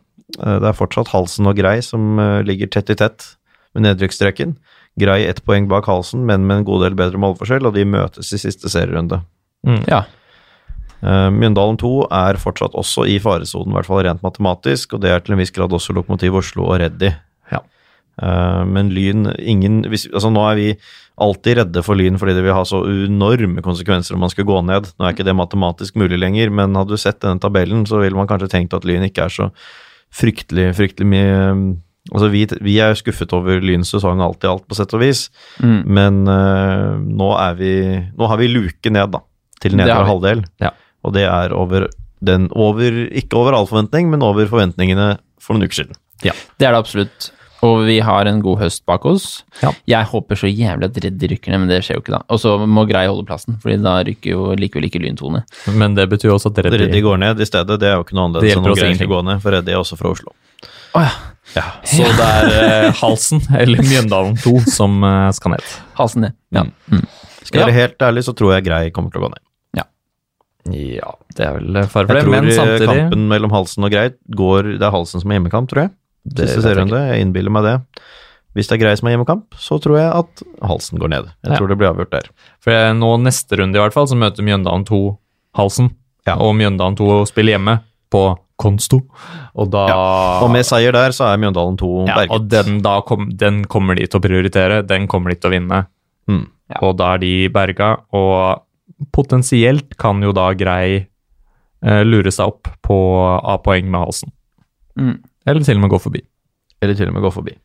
Speaker 2: Eh, det er fortsatt Halsen og Grei som eh, ligger tett i tett med nedrykksstreken. Grei ett poeng bak Halsen, men med en god del bedre målforskjell, og de møtes i siste serierunde.
Speaker 1: Ja.
Speaker 2: Eh, Mjøndalen 2 er fortsatt også i faresonen, i hvert fall rent matematisk, og det er til en viss grad også Lokomotiv Oslo og Reddy.
Speaker 3: Ja.
Speaker 2: Eh, Men Lyn ingen, hvis, altså Nå er vi alltid redde for Lyn fordi det vil ha så enorme konsekvenser om man skulle gå ned. Nå er ikke det matematisk mulig lenger, men hadde du sett denne tabellen, så ville man kanskje tenkt at Lyn ikke er så fryktelig, fryktelig mye Altså vi, vi er jo skuffet over Lyns sesong alt i alt, på sett og vis,
Speaker 1: Mm.
Speaker 2: men eh, nå er vi Nå har vi luke ned, da. Til
Speaker 1: Det
Speaker 2: nedre
Speaker 1: har vi.
Speaker 2: halvdel.
Speaker 3: Ja.
Speaker 2: Og det er over den over Ikke over all forventning, men over forventningene for noen uker siden.
Speaker 1: Det er det absolutt. Og vi har en god høst bak oss.
Speaker 3: Ja.
Speaker 1: Jeg håper så jævlig at Reddy rykker ned, men det skjer jo ikke da. Og så må Grei holde plassen, Fordi da rykker jo likevel ikke lyntone.
Speaker 3: Men det betyr jo også at Reddy
Speaker 2: Reddy går ned i stedet. Det er jo ikke noe
Speaker 3: Det
Speaker 2: annerledes
Speaker 3: hjelper
Speaker 2: enn å
Speaker 3: oss
Speaker 2: greie å
Speaker 3: ingenting.
Speaker 2: gå ned, for Reddy er også fra Oslo.
Speaker 1: Å ja.
Speaker 3: Så det er eh, Halsen, eller Mjøndalen 2, som eh, skal ned.
Speaker 1: Halsen ned. Ja. Mm.
Speaker 2: Skal
Speaker 1: Ja.
Speaker 2: jeg være helt ærlig, så tror jeg Grei kommer til å gå ned.
Speaker 3: Ja, det er vel fare for
Speaker 2: Jeg
Speaker 3: det,
Speaker 2: tror
Speaker 3: men
Speaker 2: eh,
Speaker 3: samtidig
Speaker 2: kampen mellom Halsen og Grei går Det er Halsen som er hjemmekamp, tror jeg. Siste
Speaker 3: Det vet jeg
Speaker 2: serierunde. Jeg innbiller meg det. Hvis det er Grei som er hjemmekamp, så tror jeg at Halsen går ned. Jeg
Speaker 3: Ja.
Speaker 2: tror det blir avgjort der.
Speaker 3: For jeg- nå neste runde i hvert fall, så møter Mjøndalen 2 Halsen.
Speaker 2: Ja.
Speaker 3: Og Mjøndalen 2 spiller hjemme på Konsto. Og da
Speaker 2: Og med seier der, så er Mjøndalen 2
Speaker 3: Ah. ja,
Speaker 2: berget.
Speaker 3: og den, da kom, den kommer de til å prioritere, den kommer de til å vinne.
Speaker 2: Mm.
Speaker 3: Og da er de berga, og potensielt kan jo da Grei eh, lure seg opp på A-poeng med Halsen.
Speaker 1: Mm.
Speaker 3: Eller til og med gå forbi.
Speaker 2: eller til og med gå forbi.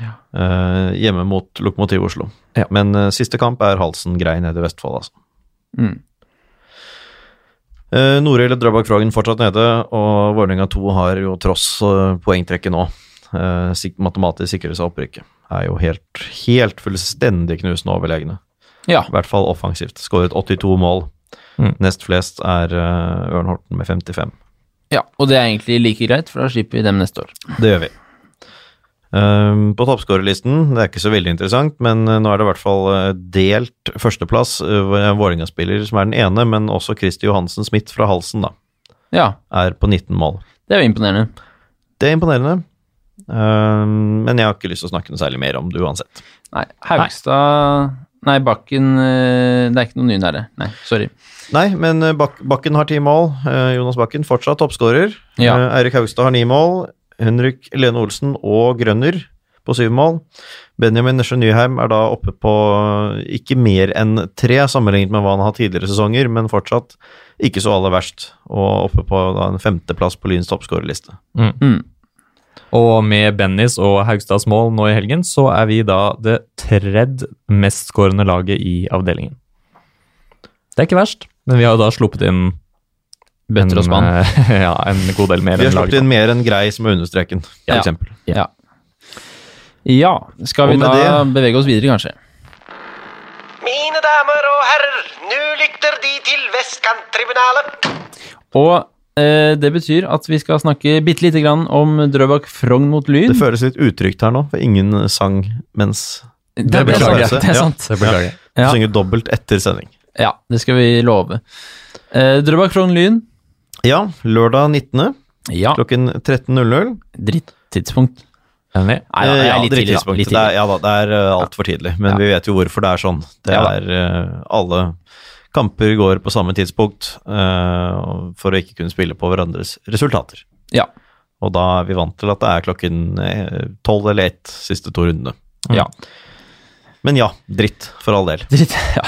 Speaker 1: Ja.
Speaker 2: Eh, hjemme mot Lokomotiv Oslo.
Speaker 3: Ja.
Speaker 2: Men eh, siste kamp er Halsen grei nede i Vestfold, altså.
Speaker 1: Mm.
Speaker 2: Uh, Norhild og Drøbak Frogn fortsatt nede, og Vålerenga 2 har jo tross eh, poengtrekket nå eh, sik matematisk sikret seg opprykket. Er jo helt, helt fullstendig knusende overlegne.
Speaker 1: ja.
Speaker 2: I hvert fall offensivt. Skåret 82 mål.
Speaker 3: Mm.
Speaker 2: Nest flest er eh, Ørn Horten med 55.
Speaker 1: Ja, og det er egentlig like greit, for da slipper vi dem neste år.
Speaker 2: Det gjør vi. Ehm, på toppskårerlisten, det er ikke så veldig interessant, men eh, nå er det i hvert fall eh, delt førsteplass. eh, hvor det er en Vålerenga-spiller som er den ene, men også Kristi Johansen Smith fra Halsen da,
Speaker 1: Ja,
Speaker 2: er på 19 mål.
Speaker 1: det er jo imponerende.
Speaker 2: Det er imponerende, Ehm, men jeg har ikke lyst til å snakke noe særlig mer om det uansett.
Speaker 1: Nei, Haugstad Nei, Bakken eh, Det er ikke noen ny nære. Nei, sorry.
Speaker 2: Nei, men eh, Bak Bakken har ti mål. Eh, Jonas Bakken fortsatt toppskårer.
Speaker 1: Ja.
Speaker 2: Eh, Eirik Haugstad har ni mål. Henrik Lene Olsen og Grønner på syv mål. Benjamin Nesje Nyheim er da oppe på eh, ikke mer enn tre, sammenlignet med hva han har hatt tidligere sesonger, men fortsatt ikke så aller verst. Og oppe på da, en femteplass på Lyns toppskårerliste.
Speaker 1: Mm.
Speaker 3: Og med Bennys og Haugstads mål nå i helgen, så er vi da det tredje mestskårende laget i avdelingen. Det er ikke verst, men vi har jo da sluppet inn
Speaker 1: Bøtter og spann.
Speaker 3: eh, ja, en god del mer
Speaker 2: Vi har
Speaker 3: enn
Speaker 2: sluppet
Speaker 3: laget.
Speaker 2: inn mer enn grei som er under streken, for
Speaker 1: Ja.
Speaker 2: eksempel.
Speaker 1: Ja. ja. Skal
Speaker 2: Og
Speaker 1: vi
Speaker 2: med
Speaker 1: da bevege oss videre, kanskje?
Speaker 5: Mine damer og herrer, nå lytter De til Vestkanttribunalet.
Speaker 1: Og eh, det betyr at vi skal snakke bitte lite grann om Drøbak Frogn mot Lyn.
Speaker 2: Det føles litt utrygt her nå, for ingen sang mens
Speaker 1: Det, er- det, er
Speaker 2: beklager
Speaker 1: sant,
Speaker 2: jeg.
Speaker 1: det er
Speaker 2: Ja.
Speaker 1: sant.
Speaker 3: Det beklager jeg.
Speaker 2: Du
Speaker 1: Ja.
Speaker 2: synger dobbelt etter sending.
Speaker 1: Ja, det skal vi love. Eh, Drøbak Frogn Lyn.
Speaker 2: Ja, lørdag 19.
Speaker 1: Ja,
Speaker 2: klokken 13.00.
Speaker 1: drittidspunkt.
Speaker 3: Enig?
Speaker 1: Nei, ja, det er litt tidlig, da.
Speaker 2: Eh, tidspunkt.
Speaker 1: Litt
Speaker 2: Det er,
Speaker 1: tidlig.
Speaker 2: ja da, det er eh, altfor tidlig, men
Speaker 1: Ja.
Speaker 2: vi vet jo hvorfor det er sånn. Det
Speaker 1: Ja da.
Speaker 2: er eh, alle kamper går på samme tidspunkt eh, for å ikke kunne spille på hverandres resultater.
Speaker 1: Ja.
Speaker 2: Og da er vi vant til at det er klokken eh, 12 eller 1 siste to rundene.
Speaker 1: Ja.
Speaker 2: Men ja, dritt for all del.
Speaker 1: Dritt, ja.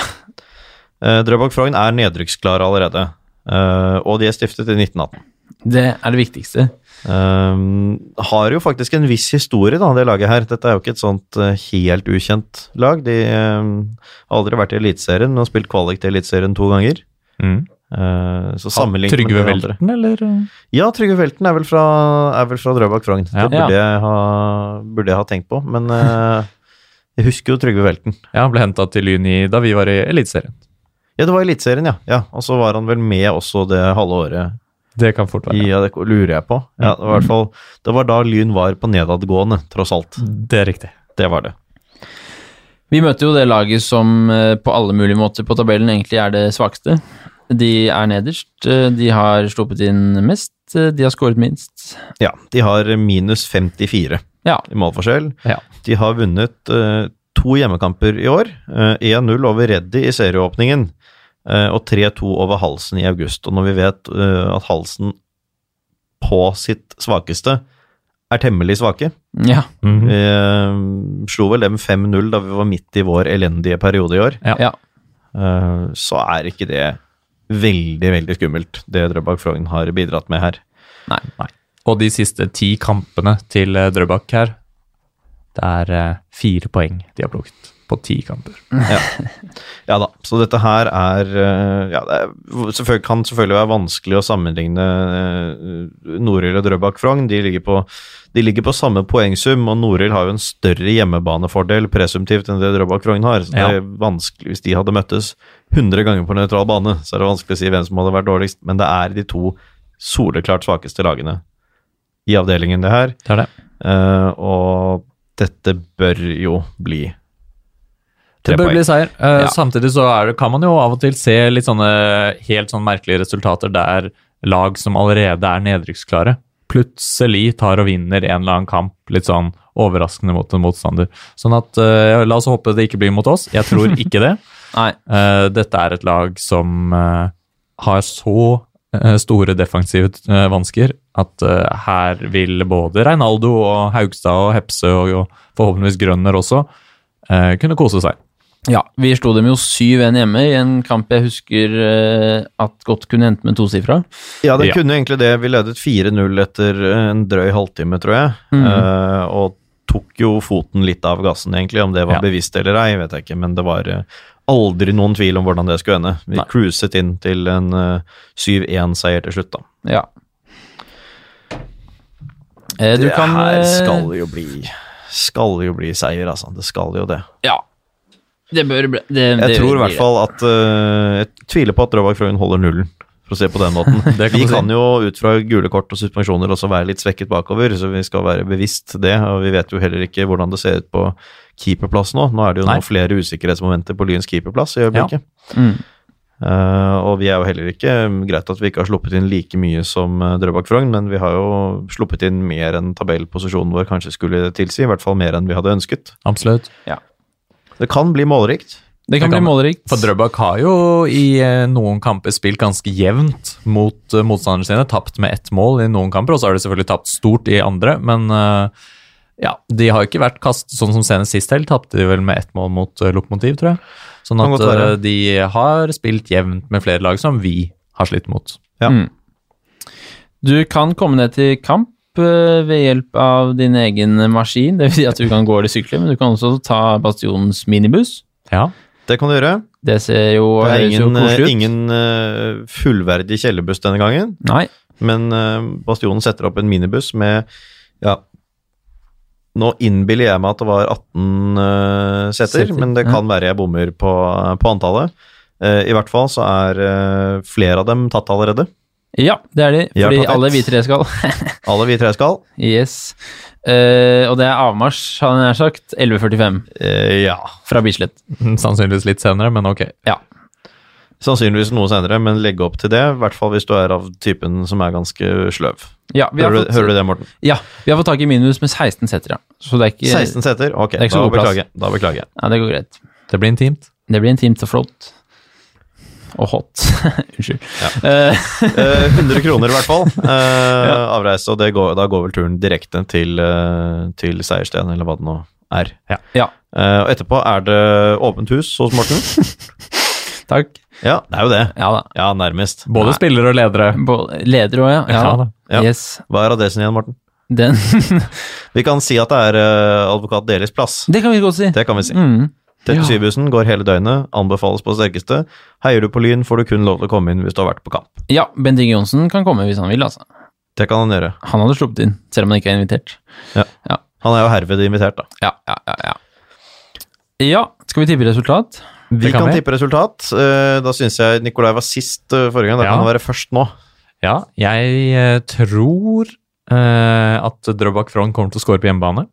Speaker 2: Eh, Drøbak Frogn er nedrykksklare allerede, eh, og de er stiftet i 1918.
Speaker 1: Det er det viktigste.
Speaker 2: Um, har jo faktisk en viss historie, da, det laget her. Dette er jo ikke et sånt eh, helt ukjent lag. De um, har aldri vært i Eliteserien, men har spilt kvalik til Eliteserien to ganger.
Speaker 3: Mm.
Speaker 2: Eh, så sammenlignet med
Speaker 3: Trygve
Speaker 2: de andre-
Speaker 3: Velten, eller?
Speaker 2: Ja, Trygve Velten er vel fra, er vel fra Drøbak Frogn.
Speaker 3: Ja.
Speaker 2: Det burde jeg, ha, burde jeg ha tenkt på, men eh, jeg husker jo Trygve Velten.
Speaker 3: Ja, ble henta til Lyn i, da vi var i Eliteserien.
Speaker 2: Ja, det var Eliteserien, ja. ja. Og så var han vel med også det halve året
Speaker 3: Det kan fort være.
Speaker 2: Ja, det lurer jeg på. Ja, det, var i hvert fall, det var da Lyn var på nedadgående, tross alt.
Speaker 3: Det er riktig.
Speaker 2: Det var det.
Speaker 1: Vi møter jo det laget som eh, på alle mulige måter på tabellen egentlig er det svakeste. De er nederst, eh, de har sluppet inn mest, eh, de har skåret minst.
Speaker 2: Ja, de har minus 54
Speaker 1: Ja.
Speaker 2: i målforskjell.
Speaker 3: Ja.
Speaker 2: De har vunnet eh, to hjemmekamper i år. Eh, 1-0 over Reddy i serieåpningen, eh, og 3-2 over Halsen i august. Og når vi vet eh, at Halsen på sitt svakeste er temmelig svake
Speaker 1: Ja.
Speaker 3: Mhm.
Speaker 2: eh, Slo vel dem 5-0 da vi var midt i vår elendige periode i år.
Speaker 3: Ja.
Speaker 1: ja.
Speaker 2: eh, så er ikke det veldig, veldig skummelt, det Drøbak Frogn har bidratt med her.
Speaker 3: Og de siste ti kampene til eh, Drøbak her, det er eh, fire poeng de har plukket på ti kamper.
Speaker 2: Ja da, så dette her er eh, ja, det er, selvfølgelig, kan selvfølgelig være vanskelig å sammenligne eh, Norild og Drøbak Frogn. De ligger på, de ligger på samme poengsum, og Norild har jo en større hjemmebanefordel presumptivt enn det Drøbak Frogn har. Så det er vanskelig hvis de hadde møttes 100 ganger på nøytral bane, så er det vanskelig å si hvem som hadde vært dårligst, men det er de to soleklart svakeste lagene i avdelingen, det her.
Speaker 3: Det er det.
Speaker 2: Eh, og dette bør jo bli
Speaker 3: Det
Speaker 2: tre
Speaker 3: bør
Speaker 2: poeng.
Speaker 3: bli seier. Eh,
Speaker 1: Ja.
Speaker 3: Samtidig så er det, kan man jo av og til se litt sånne helt sånn merkelige resultater der lag som allerede er nedrykksklare, plutselig tar og vinner en eller annen kamp litt sånn overraskende mot en motstander. Sånn at eh, la oss håpe det ikke blir mot oss. Jeg tror ikke det.
Speaker 1: Nei.
Speaker 3: Eh, dette er et lag som eh, har så eh, store defensive eh, vansker at eh, her vil både Reinaldo og Haugstad og Hepse og, og forhåpentligvis Grønner også eh, kunne kose seg.
Speaker 1: Ja, vi slo dem jo 7-1 hjemme i en kamp jeg husker eh, at godt kunne hente med tosifra.
Speaker 2: Ja, det
Speaker 3: Ja.
Speaker 2: kunne egentlig det. Vi ledet 4-0 etter eh, en drøy halvtime, tror jeg.
Speaker 1: Mhm.
Speaker 2: Eh, og tok jo foten litt av gassen, egentlig. Om det var
Speaker 3: Ja.
Speaker 2: bevisst eller ei, vet jeg ikke. Men det var eh, aldri noen tvil om hvordan det skulle ende. Vi
Speaker 3: Nei.
Speaker 2: cruiset inn til en eh, 7-1-seier til slutt, da.
Speaker 1: Ja. Eh, Du
Speaker 2: det
Speaker 1: kan
Speaker 2: her
Speaker 1: eh,
Speaker 2: skal jo bli skal jo bli seier, altså. Det skal jo det.
Speaker 1: Ja. Det bør bli det,
Speaker 2: Jeg
Speaker 1: det
Speaker 2: tror i
Speaker 1: blir
Speaker 2: hvert fall at eh, Jeg tviler på at Drøbak Frøyen holder nullen, for å se på den måten.
Speaker 3: Det kan
Speaker 2: vi
Speaker 3: du si.
Speaker 2: kan jo ut fra gule kort og suspensjoner også være litt svekket bakover, så vi skal være bevisst det. Og vi vet jo heller ikke hvordan det ser ut på keeperplass nå. Nå er det jo
Speaker 3: Nei.
Speaker 2: nå flere usikkerhetsmomenter på Lyns keeperplass i øyeblikket.
Speaker 1: det. Mm.
Speaker 2: Eh, og vi er jo heller ikke mm, Greit at vi ikke har sluppet inn like mye som eh, Drøbak Frogn, men vi har jo sluppet inn mer enn tabellposisjonen vår kanskje skulle tilsi. I hvert fall mer enn vi hadde ønsket.
Speaker 3: Absolutt.
Speaker 2: Det kan bli målrikt.
Speaker 1: Det
Speaker 3: Det
Speaker 1: kan
Speaker 3: kan
Speaker 1: bli
Speaker 3: det.
Speaker 1: målrikt.
Speaker 3: For Drøbak har jo i eh, noen kamper spilt ganske jevnt mot eh, motstanderne sine. Tapt med ett mål i noen kamper, og så har de selvfølgelig tapt stort i andre. Men eh, ja, de har ikke vært kastet sånn som senest sist helg. Tapte de vel med ett mål mot eh, Lokomotiv, tror jeg. Sånn
Speaker 2: Kan
Speaker 3: at
Speaker 2: godt være.
Speaker 3: eh, de har spilt jevnt med flere lag som vi har slitt mot.
Speaker 2: Ja.
Speaker 1: Mm. Du kan komme deg til kamp eh, ved hjelp av din egen maskin. Det vil si at du kan gå eller sykle, men du kan også ta Bastionens minibuss.
Speaker 3: Ja,
Speaker 2: Det kan du gjøre.
Speaker 1: Det ser jo
Speaker 2: Det er
Speaker 1: høres jo
Speaker 2: ingen,
Speaker 1: koselig ut.
Speaker 2: ingen eh, fullverdig kjellerbuss denne gangen,
Speaker 1: Nei.
Speaker 2: men eh, Bastionen setter opp en minibuss med ja, Nå innbiller jeg meg at det var 18 eh, seter,
Speaker 1: Seter,
Speaker 2: men det
Speaker 1: ja.
Speaker 2: kan være jeg bommer på, på antallet. Eh, I hvert fall så er eh, flere av dem tatt allerede.
Speaker 1: Ja, det er de.
Speaker 2: Jeg har
Speaker 1: Fordi
Speaker 2: tatt ett.
Speaker 1: alle vi tre skal.
Speaker 2: Alle vi tre skal.
Speaker 1: Yes. Eh, og det er avmarsj, har jeg nær sagt. 11.45
Speaker 2: Eh, ja.
Speaker 1: fra Bislett.
Speaker 3: sannsynligvis litt senere, men ok.
Speaker 2: Sannsynligvis noe senere, men legge opp til det. I hvert fall hvis du er av typen som er ganske sløv.
Speaker 1: Ja, vi har,
Speaker 2: Hører,
Speaker 1: fått,
Speaker 2: du, hører du det, Morten?
Speaker 1: Ja, vi har fått tak i minus med 16 setter, ja. Så det er ikke
Speaker 2: 16 seter? Ok,
Speaker 1: det er ikke så
Speaker 2: da
Speaker 1: god plass.
Speaker 2: beklager jeg. Da beklager jeg.
Speaker 1: Ja, det går greit.
Speaker 3: Det blir intimt.
Speaker 1: Det blir intimt og flott. Og hot. Unnskyld. Eh,
Speaker 2: Eh, 100 kroner i hvert fall. Eh, Avreise, og det går, da går vel turen direkte til, eh, til Seiersten, eller hva det nå er.
Speaker 1: Ja.
Speaker 2: Eh, og etterpå er det åpent hus hos Morten.
Speaker 1: takk.
Speaker 2: ja, det er jo det.
Speaker 1: Ja da.
Speaker 2: Ja, nærmest.
Speaker 3: Både spillere og ledere.
Speaker 1: Både leder òg, ja. Ja,
Speaker 3: Ja
Speaker 1: da.
Speaker 3: da.
Speaker 2: Ja.
Speaker 1: Yes.
Speaker 2: Hva er adressen igjen, Morten?
Speaker 1: Den
Speaker 2: Vi kan si at det er eh, advokat Delis plass.
Speaker 1: Det kan vi godt si.
Speaker 2: Det kan vi si.
Speaker 1: Mm.
Speaker 2: 37-bussen går hele døgnet, anbefales på det sterkeste. Heier du på Lyn, får du kun lov til å komme inn hvis du har vært på kamp.
Speaker 1: Ja, Bent Inge Johnsen kan komme hvis han vil, altså.
Speaker 2: Det kan han gjøre.
Speaker 1: Han hadde sluppet inn, selv om han ikke er invitert.
Speaker 2: Han er jo herved invitert, da.
Speaker 1: Ja, ja, ja. Ja, ja skal vi tippe resultat?
Speaker 2: Vi
Speaker 3: kan
Speaker 2: kan
Speaker 3: vi.
Speaker 2: tippe resultat. Eh, Da syns jeg Nikolai var sist eh, forrige gang. Da
Speaker 3: Ja.
Speaker 2: kan han være først nå.
Speaker 3: Ja, jeg eh, tror eh, at Drøbak Frogn kommer til å skåre på hjemmebane.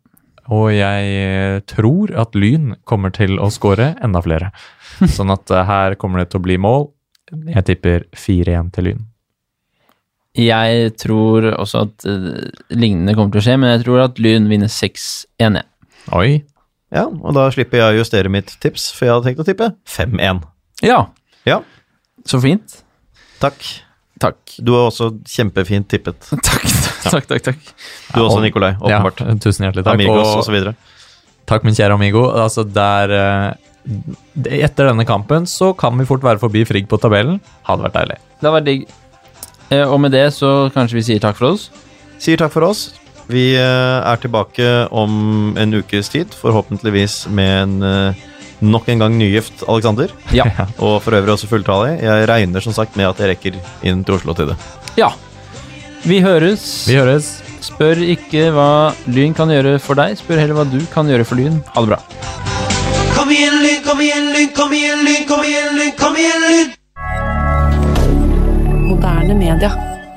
Speaker 3: Og jeg eh, tror at Lyn kommer til å skåre enda flere. Sånn at eh, her kommer det til å bli mål. Jeg tipper 4-1 til Lyn.
Speaker 1: Jeg tror også at eh, lignende kommer til å skje, men jeg tror at Lyn vinner 6-1. jeg.
Speaker 3: Oi.
Speaker 2: Ja, og da slipper jeg å justere mitt tips, for jeg hadde tenkt å tippe 5-1.
Speaker 1: Ja.
Speaker 2: Ja.
Speaker 1: Så fint.
Speaker 2: Takk.
Speaker 1: Takk.
Speaker 2: Du har også kjempefint tippet.
Speaker 1: Takk, takk, takk. takk.
Speaker 2: Du også, Nikolai. Åpenbart.
Speaker 3: Ja, tusen hjertelig takk.
Speaker 2: Amigos
Speaker 3: og-
Speaker 2: og så videre.
Speaker 3: Takk, min kjære amigo. Altså, der eh, d- Etter denne kampen så kan vi fort være forbi Frigg på tabellen. Hadde vært deilig.
Speaker 1: Det har vært digg. Eh, Og med det så kanskje vi sier takk for oss.
Speaker 2: Sier takk for oss. Vi eh, er tilbake om en ukes tid, forhåpentligvis med en eh, nok en gang nygift Alexander.
Speaker 1: Ja.
Speaker 2: Og for øvrig også fulltallig. Jeg regner som sagt med at jeg rekker inn til Oslo til det.
Speaker 1: ja. Vi høres.
Speaker 3: Vi høres.
Speaker 1: Spør ikke hva Lyn kan gjøre for deg, spør heller hva du kan gjøre for Lyn. Ha det bra.
Speaker 5: Kom igjen, Lyn, kom igjen, Lyn, kom igjen, Lyn, kom igjen, Lyn, kom igjen, Lyn!
Speaker 6: moderne media.